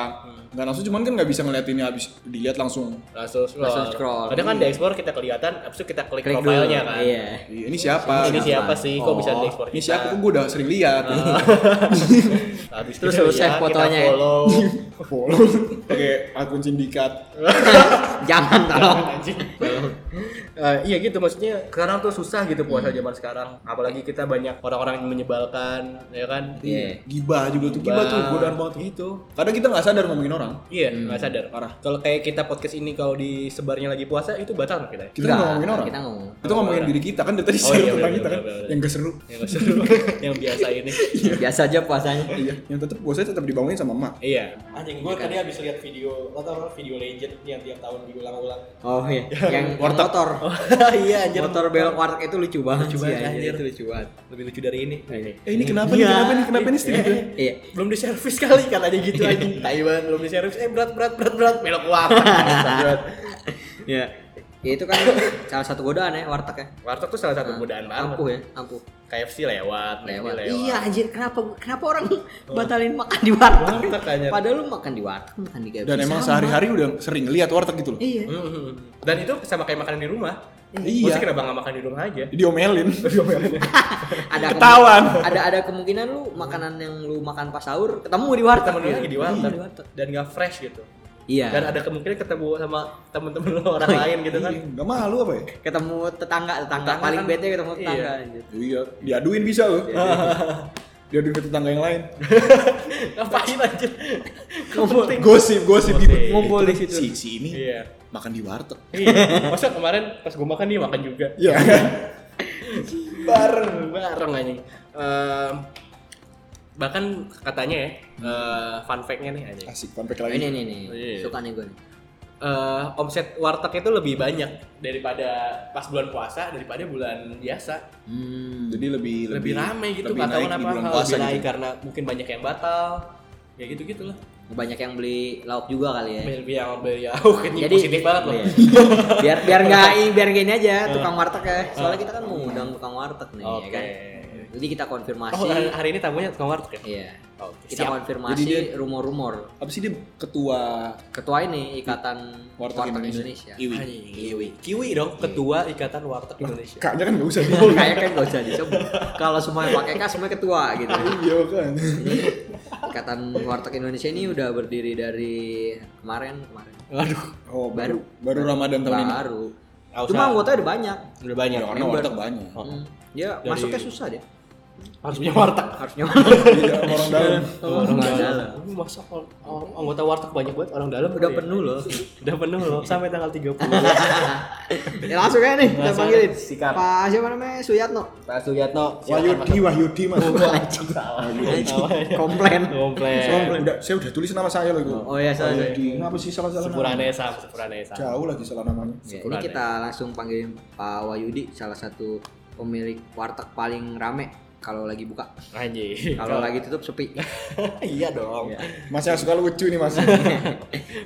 S1: nggak langsung, cuman kan nggak bisa ngeliatinnya habis dilihat langsung.
S3: langsung scroll.
S2: Langsung scroll.
S3: kadang kan di explore kita kelihatan abis itu kita klik,
S2: Klik dulu.
S3: profilnya kan
S2: Iya.
S1: Iya, Ini siapa?
S3: ini siapa
S2: Siapa?
S3: sih kok bisa
S1: Oh,
S3: di explore
S1: Ini siapa? Kok gue udah sering lihat.
S3: Ah. habis itu
S2: Terus
S3: kita
S2: lu save
S3: lihat,
S2: fotonya ya?
S3: kita follow
S1: Follow pakai akun sindikat.
S2: Jangan tolong.
S3: Eh, iya gitu maksudnya sekarang tuh susah gitu puasa zaman sekarang apalagi kita banyak orang-orang yang menyebalkan ya kan
S2: Iya.
S1: Gibah juga tuh, gibah tuh godaan banget gitu. Kadang kita nggak sadar ngomongin orang.
S3: Iya, nggak sadar. Parah. Kalau kayak kita podcast ini kalau disebarnya lagi puasa itu batal nggak kita. ya?
S1: Kita nggak
S2: Nggak,
S1: ngomongin orang.
S2: kita ngomong.
S1: Kita ngomongin diri kita kan dari tadi
S3: Oh,
S1: share
S3: iya,
S1: tentang
S3: bener,
S1: kita kan.
S3: bener, bener.
S1: Yang gak seru.
S3: Yang Ya, nggak seru, yang biasa ini.
S2: Biasa aja puasanya.
S1: Iya, yang tetap puasanya tetap dibangunin sama emak.
S3: Iya. Anjing gue tadi habis lihat video, lo tau video legend yang tiap tahun diulang-ulang.
S2: Oh iya, yang
S1: Warteg.
S2: motor.
S3: iya anjir.
S2: Motor belok warteg itu lucu banget
S3: Lucu
S2: sih,
S3: banget,
S2: anjir.
S3: anjir.
S2: Itu lucu banget.
S3: Lebih lucu dari ini.
S1: Eh
S3: Iya.
S1: ini kenapa nih? Kenapa nih? Kenapa nih? Steve?
S2: Iya.
S3: Belum diservis kali katanya gitu anjing. Tai banget belum diservis. Eh berat berat berat berat belok warteg.
S2: Iya. Ya, itu kan salah satu godaan ya warteg ya.
S3: warteg tuh salah satu godaan banget.
S2: Ampuh ya, ampuh.
S3: KFC Nah, lewat, McD
S2: Lewat.
S3: lewat.
S2: Iya anjir, kenapa kenapa orang batalin makan di warteg?
S3: Warteg, anjir.
S2: Padahal lu makan di warteg, makan di KFC.
S1: Dan
S3: Iya,
S1: emang
S2: sama.
S1: sehari-hari udah sering lihat warteg gitu loh.
S2: Iya.
S3: Mhm. Dan itu sama kayak makanan di rumah.
S1: Iya.
S3: Maksudnya kenapa nggak makan di rumah aja?
S1: Diomelin.
S2: Ada kemu-
S1: Ketahuan.
S2: Ada ada kemungkinan lu makanan yang lu makan pas sahur ketemu di warteg.
S3: temen lu lagi di warteg
S2: Iya.
S3: dan nggak fresh gitu
S2: Iya.
S3: dan ada kemungkinan ketemu sama temen-temen lu orang lain gitu kan
S1: Gak Iya, malu apa ya?
S2: Ketemu tetangga, tetangga
S3: Tetangga
S2: paling
S3: kan-
S2: bete ketemu tetangga.
S3: Iya.
S2: anjir.
S1: Iya, diaduin bisa loh. diaduin ke tetangga yang lain.
S3: ngapain aja
S1: Gosip, gosip gitu.
S3: Gosip.
S2: Ngumpul di situ.
S1: Si, si ini
S3: iya
S1: makan di warteg.
S3: iya masa kemarin pas gue makan dia makan juga
S1: Iya.
S3: bareng bareng anjing Ehm, bahkan katanya ya eh, fun fact-nya nih anjing
S1: Asik, gitu. pampek
S2: Oh,
S1: lagi.
S2: Ini nih nih,
S3: Iya.
S2: suka nih gue. nih.
S3: Eh, omset warteg itu lebih banyak daripada pas bulan puasa daripada bulan biasa
S2: Hmm.
S1: Jadi lebih
S3: lebih, ramai
S1: lebih
S3: gitu nggak tahu
S1: naik di
S3: kenapa
S1: bulan
S3: hal
S1: puasa
S3: lebih naik
S1: gitu.
S3: karena mungkin banyak yang batal ya gitu gitulah
S2: banyak yang beli lauk juga
S1: Eh.
S2: kali ya.
S3: Biar yang beli oh ini
S2: Jadi-
S3: positif banget loh.
S2: Iya. biar biar nggak biar gini aja tukang warteg ya. Soalnya kita kan mau undang tukang warteg
S1: iya,
S2: nih, ya
S3: Ah. Oke.
S2: kan. Jadi kita konfirmasi.
S3: Oh, hari, hari ini tamunya tukang warteg ya?
S2: Iya.
S3: Oke,
S2: Kita
S3: siap.
S2: konfirmasi
S1: Jadi
S2: rumor-rumor.
S1: Apa sih dia ketua
S2: Ketua ini ikatan
S1: warteg, Indonesia? Iwi.
S3: Anjing, Kiwi. Kiwi
S1: Iya.
S3: dong, ketua Ikatan Warteg Indonesia.
S1: Kaknya kan gak usah dulu.
S2: Kayaknya kan gak usah disebut. Kalau semua yang pakai K semua ketua gitu.
S1: Iya kan.
S2: Ikatan Warteg Indonesia ini udah berdiri dari kemarin kemarin.
S3: Waduh,
S1: Oh,
S2: Baru.
S1: baru. Baru Ramadan tahun ini.
S2: Baru.
S3: Nggak usah.
S2: Cuma anggota udah banyak.
S3: udah banyak. Oh.
S1: Ya, karena
S2: Member.
S1: warteg banyak.
S2: Hmm. Ya,
S3: Dari-
S2: masuknya susah dia.
S3: Harus punya warteg.
S2: Harusnya
S1: Iya, sama orang dalam.
S2: orang dalam.
S3: Lu Masa or- or- anggota warteg banyak banget orang dalam
S2: Udah
S3: kali ya?
S2: penuh loh.
S3: Udah penuh loh sampai tanggal 30.
S2: ya langsung aja nih kita
S3: Langsung
S2: panggilin
S3: aja, sikat.
S2: Pak siapa namanya Suyatno
S3: Pak Suyatno,
S1: Wahyudi, Wahyudi mas.
S3: Oh,
S2: Iya. komplain
S3: komplain.
S1: Soalnya udah, saya udah tulis nama saya loh itu.
S2: oh ya
S3: iya,
S2: salah salah.
S1: Wahyudi. Kenapa sih salah-salah nama?
S3: Sepurane sam, sepurane sam.
S1: Jauh lagi salah namanya.
S2: Ya,
S3: Iya.
S2: ini kita langsung panggilin Pak Wahyudi salah satu pemilik warteg paling rame kalau lagi buka
S3: Anjing.
S2: kalau lagi tutup sepi
S3: iya dong.
S1: Mas yang suka lucu nih mas.
S2: Ya.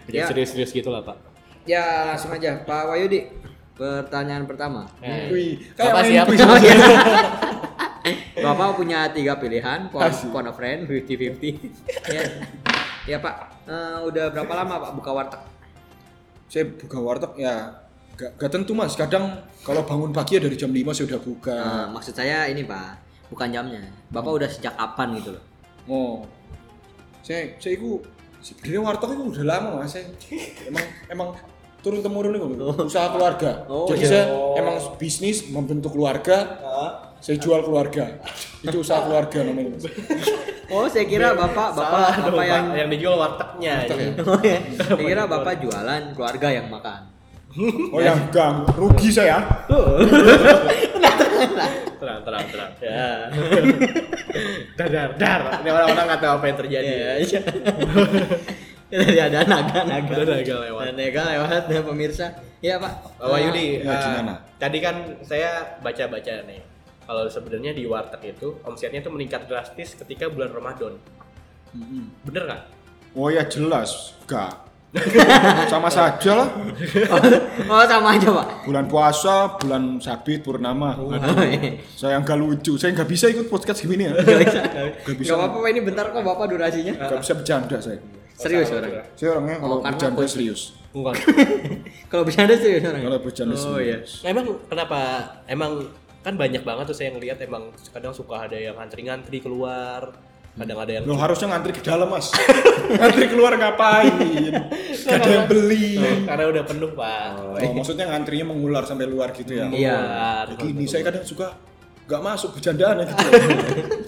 S3: Jadi serius-serius gitu lah, Pak.
S2: ya langsung aja Pak Wahyudi pertanyaan pertama
S3: Ya.
S1: Wih, kayak
S3: Bapak
S1: main
S3: siap?
S1: kuis.
S2: Bapak punya tiga pilihan Pound,
S1: Asik.
S2: pound of friend 50-50 ya. ya Pak Eh, udah berapa lama Pak buka warteg
S1: Saya buka warteg ya. Gak, gak tentu mas. Kadang kalau bangun pagi ya dari jam 5 saya udah buka.
S2: Eh, maksud saya ini Pak bukan jamnya Bapak udah sejak kapan gitu loh
S1: Oh, saya saya itu sebenarnya warteg itu udah lama mas. Saya emang emang turun temurun itu usaha keluarga.
S2: Oh,
S1: Jadi
S2: iya. Ah.
S1: saya emang bisnis membentuk keluarga. Saya jual keluarga. Itu usaha keluarga namanya. Mas.
S2: Oh, saya kira bapak bapak
S3: Salah dong,
S2: apa
S3: Pak.
S2: yang
S3: yang dijual wartegnya
S1: Warteg
S3: ini.
S1: ya?
S2: Oh ya, saya kira bapak jualan keluarga yang makan. Nah.
S1: Oh ya enggak, rugi saya. ya.
S3: Tenang, tenang, tenang. Ya. dar, dar, dar. Ini orang-orang nggak tahu apa yang terjadi.
S2: Iya, iya. Tadi ada naga naga.
S3: Ada naga lewat.
S2: Ada naga lewat ya, pemirsa. Iya pak.
S3: Bapak Yudi,
S1: Ya,
S2: iya,
S3: eh,
S1: gimana?
S3: tadi kan saya baca-baca nih. Kalau sebenarnya di warteg itu omsetnya itu meningkat drastis ketika bulan Ramadan. Bener nggak?
S1: Oh ya jelas, enggak. Sama saja lah.
S2: Oh sama aja pak.
S1: Bulan puasa, bulan sabit, purnama.
S2: Oh, iya.
S1: Saya enggak lucu, saya enggak bisa ikut podcast gini ya.
S2: Gak bisa.
S1: Gak bisa.
S2: Gak apa-apa Pak. ini bentar kok bapak durasinya.
S1: Enggak bisa bercanda saya.
S2: Serius
S3: Sama
S2: orang.
S1: Saya orangnya kalau
S2: Oh, karena
S1: bercanda
S2: aku-
S1: serius.
S3: Enggak.
S2: Kalau bercanda serius orang.
S1: Kalau bercanda
S2: Oh
S1: serius.
S2: iya.
S3: emang kenapa? Emang kan banyak banget tuh saya ngelihat emang kadang suka ada yang antri-ngantri keluar, kadang ada
S2: iya.
S3: yang
S1: Lo harusnya ngantri ke dalam mas Ngantri keluar ngapain Gak ada yang beli
S3: karena udah penuh pak.
S2: iya. Oh,
S1: oh, Maksudnya ngantrinya mengular sampai luar gitu ya
S2: Iya.
S3: Keluar.
S1: Gini saya kadang suka Gak masuk bercandaan ya gitu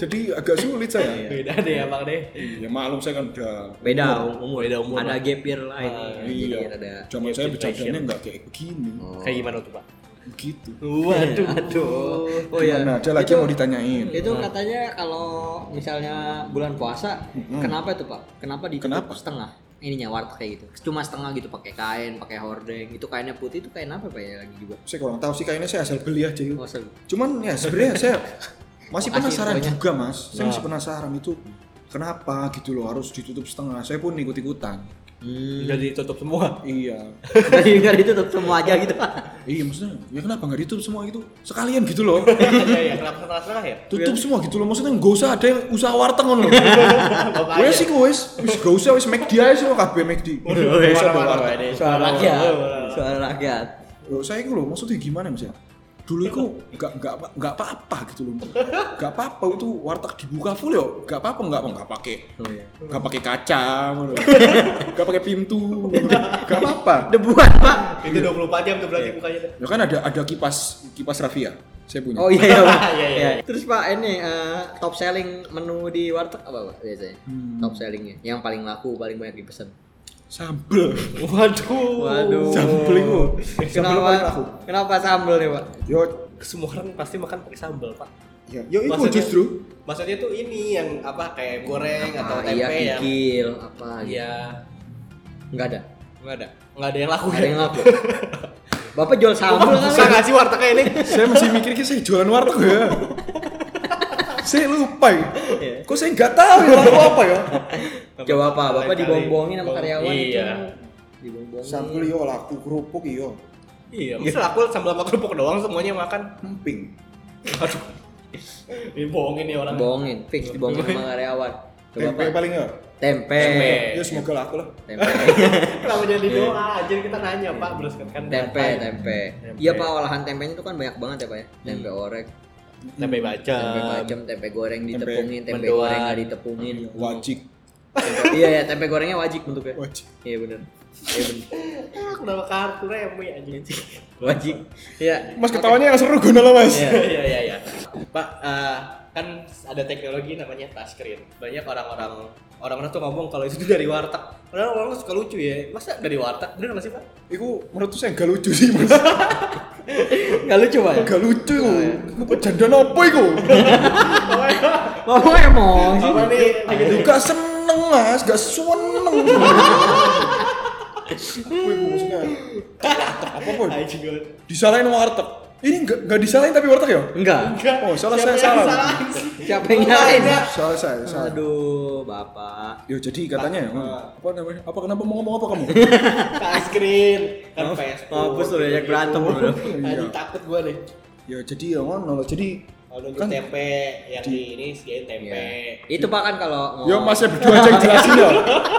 S1: Jadi agak sulit
S2: Iya.
S1: saya
S3: Beda deh emang deh.
S1: Ya maklum saya kan udah
S2: Beda
S3: umur.
S2: umur.
S3: Beda umur,
S2: Iya. Ada
S3: Pak.
S2: gap year lain. Jadi
S1: Iya
S2: ada. Oh.
S1: Zaman saya bercandanya
S3: generation.
S1: gak kayak begini
S3: Kayak gimana tuh pak?
S1: Begitu
S3: Waduh.
S2: Aduh. Oh iya.
S1: Gimana ada lagi
S2: Itu-
S1: mau ditanyain
S2: Itu katanya kalau misalnya bulan puasa, kenapa itu pak? Kenapa ditutup
S1: Kenapa?
S2: setengah? Ininya warteg kayak gitu. Cuma setengah gitu pakai kain, pakai hordeng. Itu kainnya putih itu kain apa pak ya lagi juga?
S1: Saya kurang tahu sih kayaknya saya asal beli aja
S2: Oh,
S1: yuk
S2: seru.
S1: Cuman ya sebenarnya saya masih
S2: Makasih
S1: penasaran
S2: infonya.
S1: juga mas Saya masih penasaran itu Kenapa gitu loh harus ditutup setengah Saya pun ikut-ikutan
S2: Hmm.
S3: Udah ditutup semua.
S1: Iya.
S2: Jadi biar ditutup semua aja gitu pak.
S1: Iya maksudnya, ya kenapa nggak ditutup semua gitu? Sekalian gitu loh.
S3: Iya iya. Kenapa setengah-setengah ya?
S1: Tutup semua gitu loh. Maksudnya nggak usah ada yang usaha warteg ngono.
S3: Bapak
S1: Wes sih wes, wes nggak usah wes McD aja sih lo kabeh McD. Nggak usah ada warteg.
S2: Soal rakyat, soal rakyat.
S1: Loh, saya itu loh, maksudnya gimana mas ya? Dulu itu nggak nggak apa- nggak apa-apa gitu loh. Nggak apa-apa itu warteg dibuka full yo. Nggak apa-apa nggak apa nggak pakai
S2: Oh, iya.
S1: nggak pakai kaca, ngono. nggak pakai pintu, nggak apa-apa.
S2: Debuan pak.
S3: Itu 24 jam tuh berarti
S2: Iya.
S3: bukanya. tuh.
S1: Ya kan ada ada kipas kipas Rafia, saya punya.
S2: Oh iya iya pak.
S3: Iya, iya.
S2: Iya. Terus pak ini eh, top selling menu di warteg apa pak biasanya? Top sellingnya, yang paling laku, paling banyak dipesan.
S1: Sambel.
S3: Waduh.
S2: Waduh.
S1: Sambel itu. Sambel
S2: Kenapa?
S1: paling laku.
S2: Kenapa sambel nih pak?
S1: Yo,
S3: Semua orang pasti makan pakai sambal pak.
S1: ya, yo itu
S3: Maksudnya-
S1: justru.
S3: Maksudnya tuh ini yang apa kayak goreng atau
S2: Ah,
S3: tempe
S2: iya,
S3: yang
S2: kikil apa gitu.
S3: Iya.
S2: Enggak ada.
S3: Enggak ada. Enggak ada yang laku.
S2: Nggak ada yang laku. ya? Bapak jual sambal kan?
S3: Bisa nggak sih wartegnya ini?
S1: Saya masih mikir saya jualan warteg ya. saya lupa ya.
S2: Iya.
S1: Kok saya nggak tahu ya warteg apa ya?
S2: Coba apa? Bapak
S3: Lain kali.
S2: dibombongin sama karyawan
S3: Iya.
S2: itu. Dibombongin.
S1: Sambel yo laku kerupuk yo.
S3: Iya, masa aku sambal sama kerupuk doang semuanya makan.
S1: Emping.
S3: Aduh. Ini bohongin nih ya orang.
S2: Dibohongin, fix dibohongin sama karyawan. Coba
S1: Tempe
S2: Pak.
S1: paling ya.
S2: Tempe.
S3: Tempe.
S1: Ya semoga laku lah.
S2: Tempe.
S3: Kenapa jadi doa? Jadi kita nanya, Pak, terus kan kan
S2: Iya. Tempe, tempe.
S3: Tempe.
S2: Iya Pak, olahan tempenya itu kan banyak banget ya Pak ya. Tempe orek,
S3: tempe baca.
S2: Hmm, tempe bacem, tempe goreng
S1: Tempe
S2: ditepungin, tempe
S3: mendoan.
S2: goreng nggak ditepungin.
S1: Wajik.
S2: Tempe- Iya ya, tempe gorengnya wajib bentuknya.
S1: Wajik.
S2: Iya benar. Iya benar.
S3: Ah, kenapa kartu remi anjing?
S2: Wajib. Iya.
S1: Mas ketawanya yang seru guna lah mas.
S2: Iya.
S3: Iya, iya, iya. Pak, eh, kan ada teknologi namanya touchscreen. Banyak orang-orang orang-orang tuh ngomong kalau itu dari warteg. Padahal orang suka lucu ya. Masa dari warteg? Bener nggak sih, Pak?
S1: Iku menurut saya nggak lucu sih mas.
S2: Enggak lucu Oh, iya. Pak.
S1: Nggak lucu. Iku pejandaan apa iku?
S2: Ngomong emosi.
S3: Oh, iya. Apa nih? Lagi
S1: Aduh, gak seneng mas, gak seneng. Apa iku maksudnya? Apa pun?
S3: Anjing gue.
S1: Disalahin warteg. Ini nggak nggak disalahin tapi warteg ya?
S2: Enggak.
S1: Oh, salah saya
S3: Siapa yang
S1: salah.
S3: sih?
S2: Siapa yang nyalain? Pak?
S1: Salah saya, salah.
S2: Aduh, Bapak.
S1: Yo, jadi katanya ya, apa namanya? Apa kenapa mau ngomong apa kamu?
S3: Touchscreen. Kan Facebook.
S2: Oh,
S3: gitu.
S2: Mampus lu diajak berantem lu. Iya.
S3: Anjing takut gue nih.
S1: Yo, jadi ya ngono loh. Jadi
S3: Kalau nunjuk
S1: Kan-
S3: tempe yang di ini sediain tempe.
S2: Iya. Itu Pak kan kalau mau-
S1: Oh. Yo, mas saya berdua aja yang jelasin ya.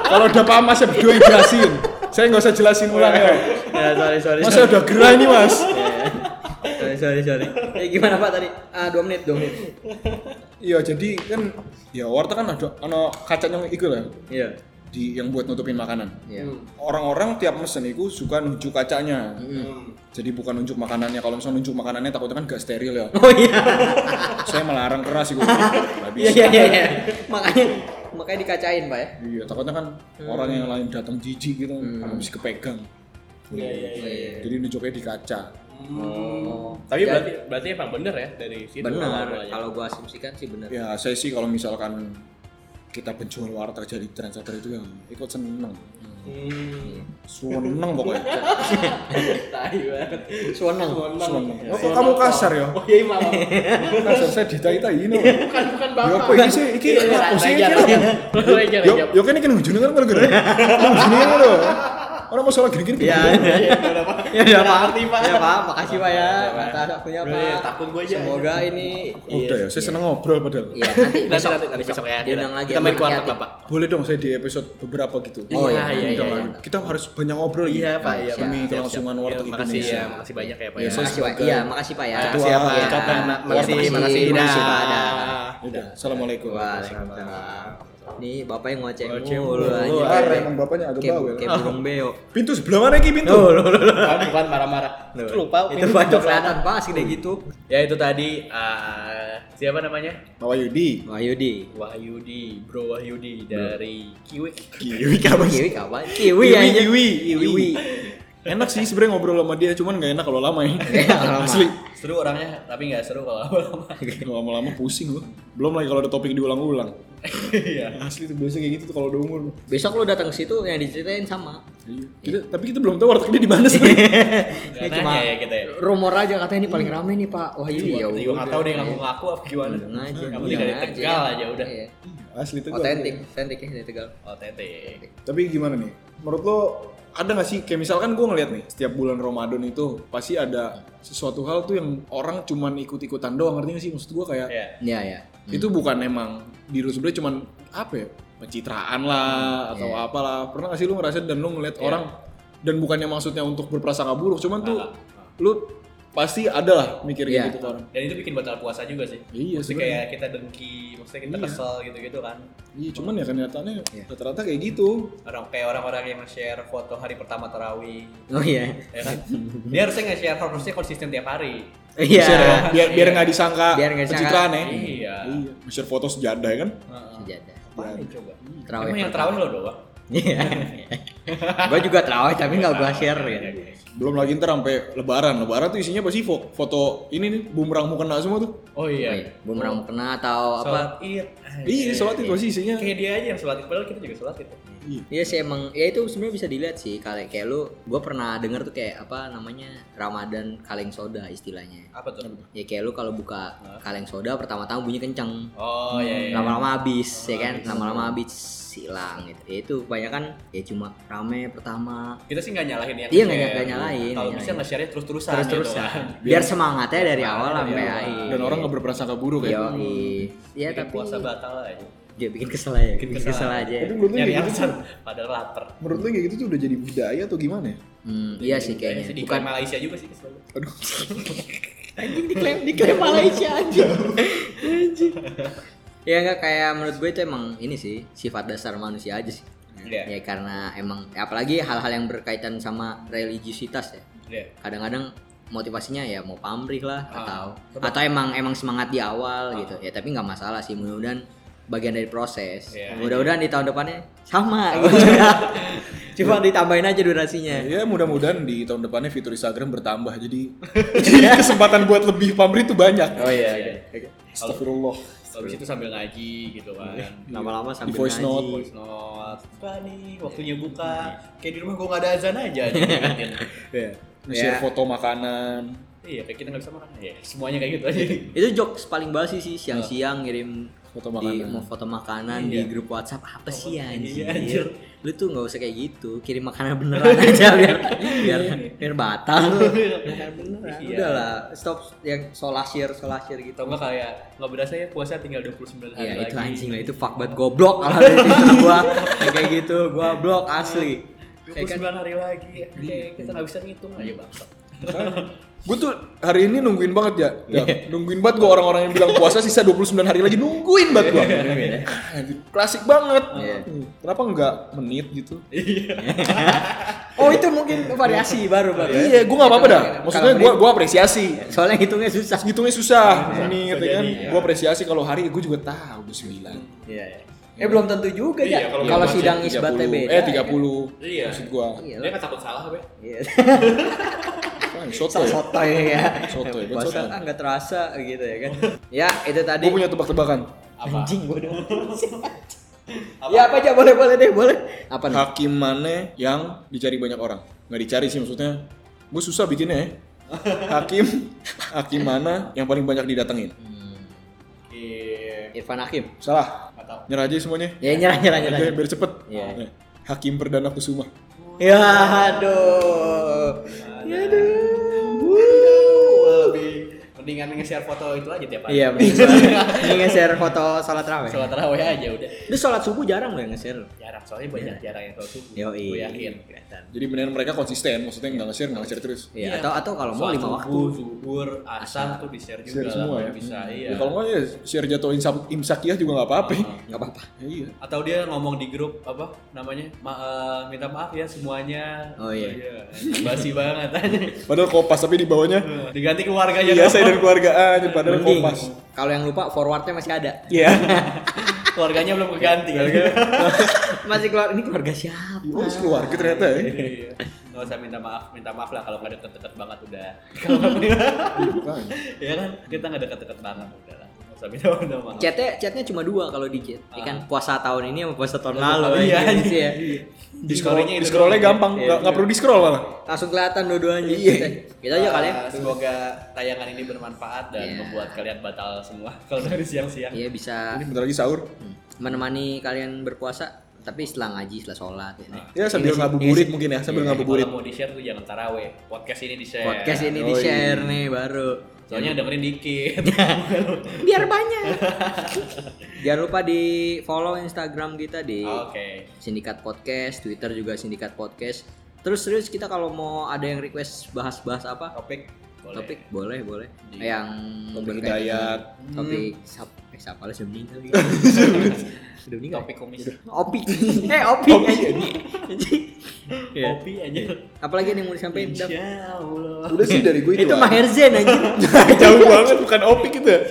S1: Kalau udah paham mas saya berdua yang jelasin. Saya nggak usah jelasin ulang ya.
S2: Ya, sorry, sorry.
S1: Mas saya
S2: sorry.
S1: udah gerah ini mas.
S2: Ya. Sorry, sorry, sorry. Eh, gimana Pak tadi? Ah, 2 menit, 2 menit.
S1: Iya, jadi kan ya warteg kan ada ono kacanya iku lah.
S2: Iya.
S1: di yang buat nutupin makanan.
S2: Iya.
S1: Orang-orang tiap mesen itu suka nunjuk kacanya.
S2: Iya.
S3: Hmm.
S1: Jadi bukan nunjuk makanannya. Kalau misalnya nunjuk makanannya takutnya kan gak steril ya.
S2: Oh iya.
S1: Saya melarang keras itu.
S2: Iya iya iya. iya. Makanya makanya dikacain, Pak ya.
S1: Iya, takutnya kan orang yang lain datang jijik gitu, habis kepegang.
S3: Iya iya iya.
S1: Jadi nunjuknya di kaca.
S2: Oh.
S3: Tapi berarti berarti emang bener ya dari situ.
S2: benar.
S3: awalnya.
S2: Kalau gua asumsikan sih benar.
S1: Ya, saya sih kalau misalkan kita penjual warteg jadi trendsetter itu yang ikut seneng.
S3: Hmm.
S1: Seneng pokoknya.
S3: Tai banget.
S2: Suweneng.
S1: Seneng.
S3: Iya.
S1: Oh, kok kamu kasar ya?
S3: Oh iya maaf.
S1: Kasar saya ditai-tai ini.
S3: Bukan bukan
S1: Ya
S3: bapak. Iya,
S1: apa ini sih? Iki apa sih?
S3: Rejar,
S1: Iki?
S3: rejar. Rejar,
S1: Yo,
S3: rejar.
S1: yo kan ini kan ujungnya kan kalau gini. Ujungnya kan lho. Orang masalah gini-gini.
S2: Iya.
S3: Ya udah Pak.
S2: Ya udah Pak.
S3: Ngerti, Pak.
S2: Ya Pak, makasih Pak ya.
S3: Ya, Pak.
S2: Atas waktunya
S3: Udah, ya,
S2: Pak.
S3: takut gua aja.
S2: Semoga ini
S3: Iya,
S1: Udah ya, saya seneng ngobrol padahal.
S2: Iya, nanti
S3: Nanti,
S2: besok
S3: nanti, nanti besok ya.
S2: Diundang lagi.
S3: Kita main
S2: sama
S3: keluarga
S2: Yati.
S3: Bapak.
S1: Boleh dong saya di episode beberapa gitu.
S2: Oh iya,
S3: Iya,
S2: iya,
S1: Kita-
S2: iya.
S3: iya.
S1: Kita harus banyak ngobrol
S3: Iya
S1: ya.
S3: Pak, iya.
S1: Demi
S3: Pak.
S1: kelangsungan
S3: Siap,
S1: warteg
S3: siap. Makasih
S1: Indonesia.
S3: ya, makasih banyak
S1: Iya,
S3: ya Pak ya.
S1: saya
S2: Makasih Pak.
S1: sebagai
S2: Iya, makasih Pak ya.
S1: ketua
S3: Makasih ya Pak.
S2: Iya.
S3: Capek, Pak. Makasih,
S2: Iya,
S3: makasih.
S2: Indonesia,
S3: Dah.
S2: Pak. Dah.
S1: Udah, assalamualaikum.
S2: Waalaikumsalam. Nih bapak yang ngoceh
S3: Ngoceh
S2: mulu
S3: mulu,
S2: anjing.
S1: Ah, emang bapaknya agak
S2: Kayak
S1: bawel.
S2: kayak burung beo.
S1: Pintu sebelah mana ki pintu?
S2: Loh, loh, loh.
S3: Bukan, bukan marah-marah.
S2: Loh,
S3: Itu lupa.
S2: Iya. Itu bacok kelihatan Pak segede gitu.
S3: Ya itu tadi eh, siapa namanya?
S1: Bawa Yudi.
S2: Wah, Yudi.
S3: Wahyudi, Bro Wahyudi dari Kiwik.
S1: Kiwi kabar.
S2: Kiwi apa? Kiwi
S1: Kiwi,
S2: aja.
S1: kiwi, kiwi.
S2: Kiwi.
S1: Enak sih sebenarnya ngobrol sama dia, cuman nggak enak kalau lama ya.
S2: lama.
S1: Asli.
S3: Seru orangnya, tapi nggak seru kalau lama-lama.
S1: Kalau Lama-lama pusing loh. Belum lagi kalau ada topik diulang-ulang.
S3: Iya.
S1: Asli tuh biasanya kayak gitu tuh kalau udah umur.
S2: Besok lu datang ke situ yang diceritain sama.
S1: Iya. Kita- tapi kita belum tahu warteg dia di mana sebenarnya.
S3: Nggak nanya ya kita ya.
S2: rumor aja katanya ini paling rame nih Pak. Wah,
S3: Iya,
S2: Yudi ya.
S3: Gue nggak tahu deh ngaku ngaku apa gimana.
S2: Untung aja.
S3: Kamu
S2: Untung
S3: tinggal di Tegal aja udah. Oh,
S2: Iya.
S1: Asli tuh. gua-
S2: Otentik, otentik ya dari Tegal.
S3: OTT.
S1: Tapi gimana nih? Menurut lo ada nggak sih kayak misalkan gue ngeliat nih setiap bulan Ramadan itu pasti ada sesuatu hal tuh yang orang cuman ikut-ikutan doang ngerti gak sih maksud gue kayak
S3: Iya.
S2: Iya, iya.
S1: itu bukan emang diri lu sebenarnya cuman apa ya pencitraan lah atau
S2: Iya.
S1: apalah pernah gak sih lu ngerasain dan lu ngeliat orang dan bukannya maksudnya untuk berprasangka buruk cuman tuh lu pasti ada lah mikir kayak
S2: Iya.
S1: gitu ke orang
S3: Dan itu bikin batal puasa juga sih.
S1: iya
S3: Maksudnya
S1: sebenarnya
S3: kayak kita dengki, maksudnya kita
S1: Iya.
S3: kesel gitu-gitu kan.
S1: iya cuman ya kenyataannya
S2: Iya.
S1: rata-rata kayak gitu
S3: Orang kayak orang-orang yang nge-share foto hari pertama tarawih.
S2: Oh iya.
S3: Ya kan? Dia harusnya nge-share harusnya konsisten tiap hari.
S2: Iya.
S1: Share ya, biar biar
S3: Iya.
S1: nggak disangka
S2: Biar nggak disangka.
S1: pencitraan ya
S3: Iya.
S1: iya share foto sejadah ya kan
S3: Heeh.
S2: Senjata.
S3: Iya. Apaan nih coba?
S2: Iya, Terawih
S3: Emang yang terawih lo doang.
S2: Iya. Gua juga terawih tapi nggak gua share
S3: Iya,
S2: ya.
S3: iya.
S1: belum lagi ntar sampai lebaran lebaran tuh isinya pasti fo- foto ini nih bumerang mau kena semua tuh
S3: Oh
S2: Iya.
S3: iya.
S2: Bumerang kena atau apa?
S3: Sholat id.
S1: iya sholat itu pasti isinya
S3: Kayak dia aja yang sholat id. Padahal kita juga sholat id.
S1: Iya.
S2: Iya sih emang ya itu sebenarnya bisa dilihat sih kayak kayak lu gue pernah denger tuh kayak apa namanya Ramadan kaleng soda istilahnya.
S3: Apa tuh?
S2: Ya kayak lu kalau buka kaleng soda pertama-tama bunyi kenceng.
S3: Oh iya. iya.
S2: Lama-lama habis ya kan, lama-lama habis hilang gitu. Ya itu kebanyakan ya cuma rame pertama
S3: Kita sih nggak nyalahin yang
S2: Iya, nggak
S3: nge-share.
S2: nggak nyalahin,
S3: Kalau
S2: nggak
S3: bisa
S2: nyalahin.
S3: nge-share terus-terusan. gitu
S2: terus-terusan. Biar semangatnya dari awal sampai
S3: kan. Iya.
S2: akhir.
S1: dan orang nggak berprasangka buruk ya
S2: Yoi.
S3: Iya
S2: Ya
S3: tapi
S2: tapi
S3: puasa batal aja.
S2: dia bikin kesel aja, bikin
S3: kesel.
S2: kesel aja.
S1: Tapi menurut lu
S3: Nyari
S1: kayak gitu
S3: alasan. Padahal lapar.
S1: menurut lu kayak gitu tuh udah jadi budaya atau gimana ya?
S2: Hmm, iya sih
S3: Kayaknya sih
S2: kayaknya.
S3: di
S2: Bukan
S3: Malaysia juga sih kesel.
S1: Aduh,
S2: anjing diklaim diklaim Malaysia anjing anjing ya enggak kayak menurut gue itu emang ini sih sifat dasar manusia aja sih ya
S3: Iya.
S2: karena emang apalagi hal-hal yang berkaitan sama religiusitas ya
S3: Iya.
S2: kadang-kadang motivasinya ya mau pamrih lah
S3: Ah,
S2: atau
S3: betul.
S2: atau emang emang semangat di awal gitu ya tapi nggak masalah sih mudah-mudahan bagian dari proses
S3: Iya.
S2: mudah-mudahan di tahun depannya sama gitu cuma ditambahin aja durasinya
S1: ya mudah-mudahan di tahun depannya fitur Instagram bertambah jadi jadi kesempatan buat lebih pamrih tuh banyak. gitu.
S2: oh iya,
S3: iya.
S1: Astagfirullah.
S3: Habis itu sambil ngaji gitu kan.
S2: lama-lama sambil
S1: voice
S2: ngaji.
S1: note.
S3: voice note buka nih waktunya buka
S2: Iya.
S3: kayak di rumah gua nggak ada azan aja aja diingetin.
S1: Ya. Share
S2: Ya.
S1: foto makanan.
S3: iya kayak kita nggak bisa makan ya semuanya kayak gitu aja
S2: itu jokes paling basi sih siang-siang ngirim
S1: Foto
S2: di
S1: makanan.
S2: mau foto makanan di
S3: Iya.
S2: grup WhatsApp apa sih
S3: Iya,
S2: anjir?
S3: anjir.
S2: lu tuh nggak usah kayak gitu kirim makanan beneran aja biar biar biar batal lu makanan beneran
S3: Iya.
S2: udahlah stop yang solasir solasir gitu
S3: atau nggak kayak nggak berasa ya puasa tinggal 29 hari
S2: ya
S3: lagi
S2: itu anjing lah itu fuck banget goblok kalau ada di situ gua Yang kayak gitu gua blok asli Ya kan?
S3: Iya.
S2: Iya,
S3: 29 hari lagi ya, kayak kita nggak bisa ngitung aja bang
S1: Gue tuh hari ini nungguin banget ya. Ya, Nungguin banget gue orang-orang yang bilang puasa sisa 29 hari lagi nungguin banget gue. Klasik banget.
S2: Iya.
S1: Hmm, Kenapa enggak menit gitu?
S2: Oh itu mungkin variasi baru baru.
S1: Iya, gue nggak apa-apa dah. Maksudnya gue gua apresiasi.
S2: Soalnya hitungnya susah.
S1: Hitungnya susah, menit,
S3: Iya, bisa
S1: ya kan?
S3: jadi, ya.
S1: Gue apresiasi kalau hari gue juga tahu 29.
S2: Iya. iya. Eh belum tentu juga ya.
S3: Iya, kalau
S2: Kalau
S3: masih
S2: sidang isbatnya
S1: 30.
S2: beda.
S1: Eh
S2: ya
S1: 30.
S3: Iya.
S1: Maksud gue.
S2: kan? Iya.
S3: Dia nggak takut salah, be.
S2: Iya.
S1: Kan, soto ya.
S2: Sotoy ya.
S1: Soto ya, buat
S2: Puasa
S1: soto.
S2: ah, nggak terasa gitu ya kan. Ya itu tadi.
S1: Gue punya tebak-tebakan.
S3: Apa?
S2: Anjing bodoh. Ya apa aja boleh boleh deh boleh. Apa nih?
S1: Hakim mana yang dicari banyak orang? Nggak dicari sih maksudnya. Gue susah bikinnya ya. Hakim, hakim mana yang paling banyak didatengin?
S3: Iya.
S2: Irfan Hakim.
S1: Salah.
S3: Nggak tahu.
S1: Nyerah aja semuanya.
S2: Ya nyerah nyerah nyerah.
S1: Aja biar cepet.
S2: Iya.
S1: Nah, Hakim Perdana Kusuma.
S2: Ya aduh. Ya aduh.
S3: Wah, lebih mendingan nge-share foto itu aja tiap hari.
S2: Iya, ini nge-share foto sholat raweh.
S3: Sholat tarawih aja udah.
S2: Itu sholat subuh jarang loh yang nge-share.
S3: Jarang soalnya banyak jarang yang tahu subuh.
S2: Yo,
S3: Gue yakin.
S2: Kelihatan.
S1: Jadi benar mereka konsisten, maksudnya nggak nge-share, nggak nge-share terus.
S2: Iya, atau atau kalau mau
S3: Sholat
S2: lima waktu.
S3: subuh, Zuhur, asar tuh di-share juga
S1: Share
S3: lah,
S1: semua ya.
S3: kalau
S2: Hmm.
S3: Bisa, iya.
S1: Ya, kalau nggak ya share jatuh imsak, imsakiyah juga nggak apa-apa.
S2: Enggak apa-apa.
S1: Ya, iya.
S3: atau dia ngomong di grup apa namanya Ma- eh, minta maaf ya semuanya
S2: Oh, iya.
S3: basi banget aja
S1: Padahal kopas tapi di bawahnya
S3: diganti keluarganya
S1: iya saya
S3: doang.
S1: dan keluarga aja padahal
S2: Mending
S1: kopas.
S2: kalau yang lupa forwardnya masih ada.
S1: Iya.
S3: keluarganya belum keganti
S2: Iya, Masih keluar ini keluarga siapa?
S1: Oh, keluarga ternyata ya.
S3: Iya. nggak usah minta maaf minta maaf lah kalau nggak deket-deket banget udah
S1: Bukan.
S3: ya kan kita nggak deket-deket banget udah lah nggak usah minta minta maaf
S2: Chatnya, chatnya cuma dua kalau di chat. Ya kan puasa tahun ini sama puasa tahun
S3: Tahun
S2: lalu.
S3: iya.
S2: ya, gitu ya.
S1: Di
S3: Scrollingnya
S1: scroll,
S3: itu
S1: di scrollnya
S3: doang. Iya,
S1: gampang, nggak nggak perlu di scroll malah.
S2: Langsung kelihatan dua-duanya.
S1: Iya.
S2: chatnya. Gitu aja kali ya.
S3: Eh, semoga tayangan ini bermanfaat dan
S2: Iya.
S3: membuat kalian batal semua kalau dari siang-siang
S2: Iya bisa hmm,
S1: Ini bentar lagi sahur.
S2: menemani kalian berpuasa tapi setelah ngaji setelah sholat ya.
S1: Ya sambil ngabuburit mungkin ya, sambil ngabuburit.
S3: kalau mau di share tuh jangan taraweh podcast ini di share
S2: podcast ini
S1: Yoi.
S2: di share nih baru
S3: soalnya dengerin dikit
S2: biar banyak jangan lupa di follow instagram kita di
S3: oke
S2: sindikat podcast twitter juga sindikat podcast terus serius kita kalau mau ada yang request bahas-bahas apa
S3: topik boleh
S2: topik boleh boleh
S3: Di-
S2: yang
S1: Iya. Topik
S2: berkaitan- Hmm.
S1: hidayat.
S2: topik sap- eh, siapa lah sudah meninggal ya. sudah meninggal
S3: topik komis
S2: opi eh opi anjing. Anjing. Iya.
S3: kopi aja
S2: apalagi yang mau disampaikan Dap?
S3: insya Allah
S1: Udah sih dari gue itu.
S2: itu
S1: ah.
S2: Maher Zain anjir
S1: Jauh banget bukan opik itu. ya.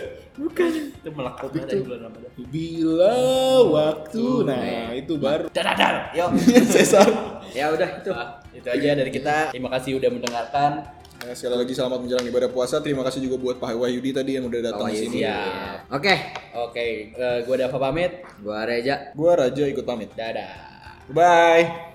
S3: itu melekat banget ya di bulan Ramadan
S1: Bila waktu nah itu baru.
S3: dadar dadar yuk
S1: Sesar.
S2: ya udah itu
S3: Nah, itu aja dari kita terima kasih udah mendengarkan
S1: Ya, sekali lagi selamat menjalankan ibadah puasa. Terima kasih juga buat Pak Wahyudi tadi yang udah datang
S2: Pak
S1: di sini.
S3: Wahyudi.
S2: Oh, Iya. oke
S3: oke eh, gua Dava pamit
S2: gua Reja
S1: Gua Raja ikut pamit.
S3: dadah
S1: Bye.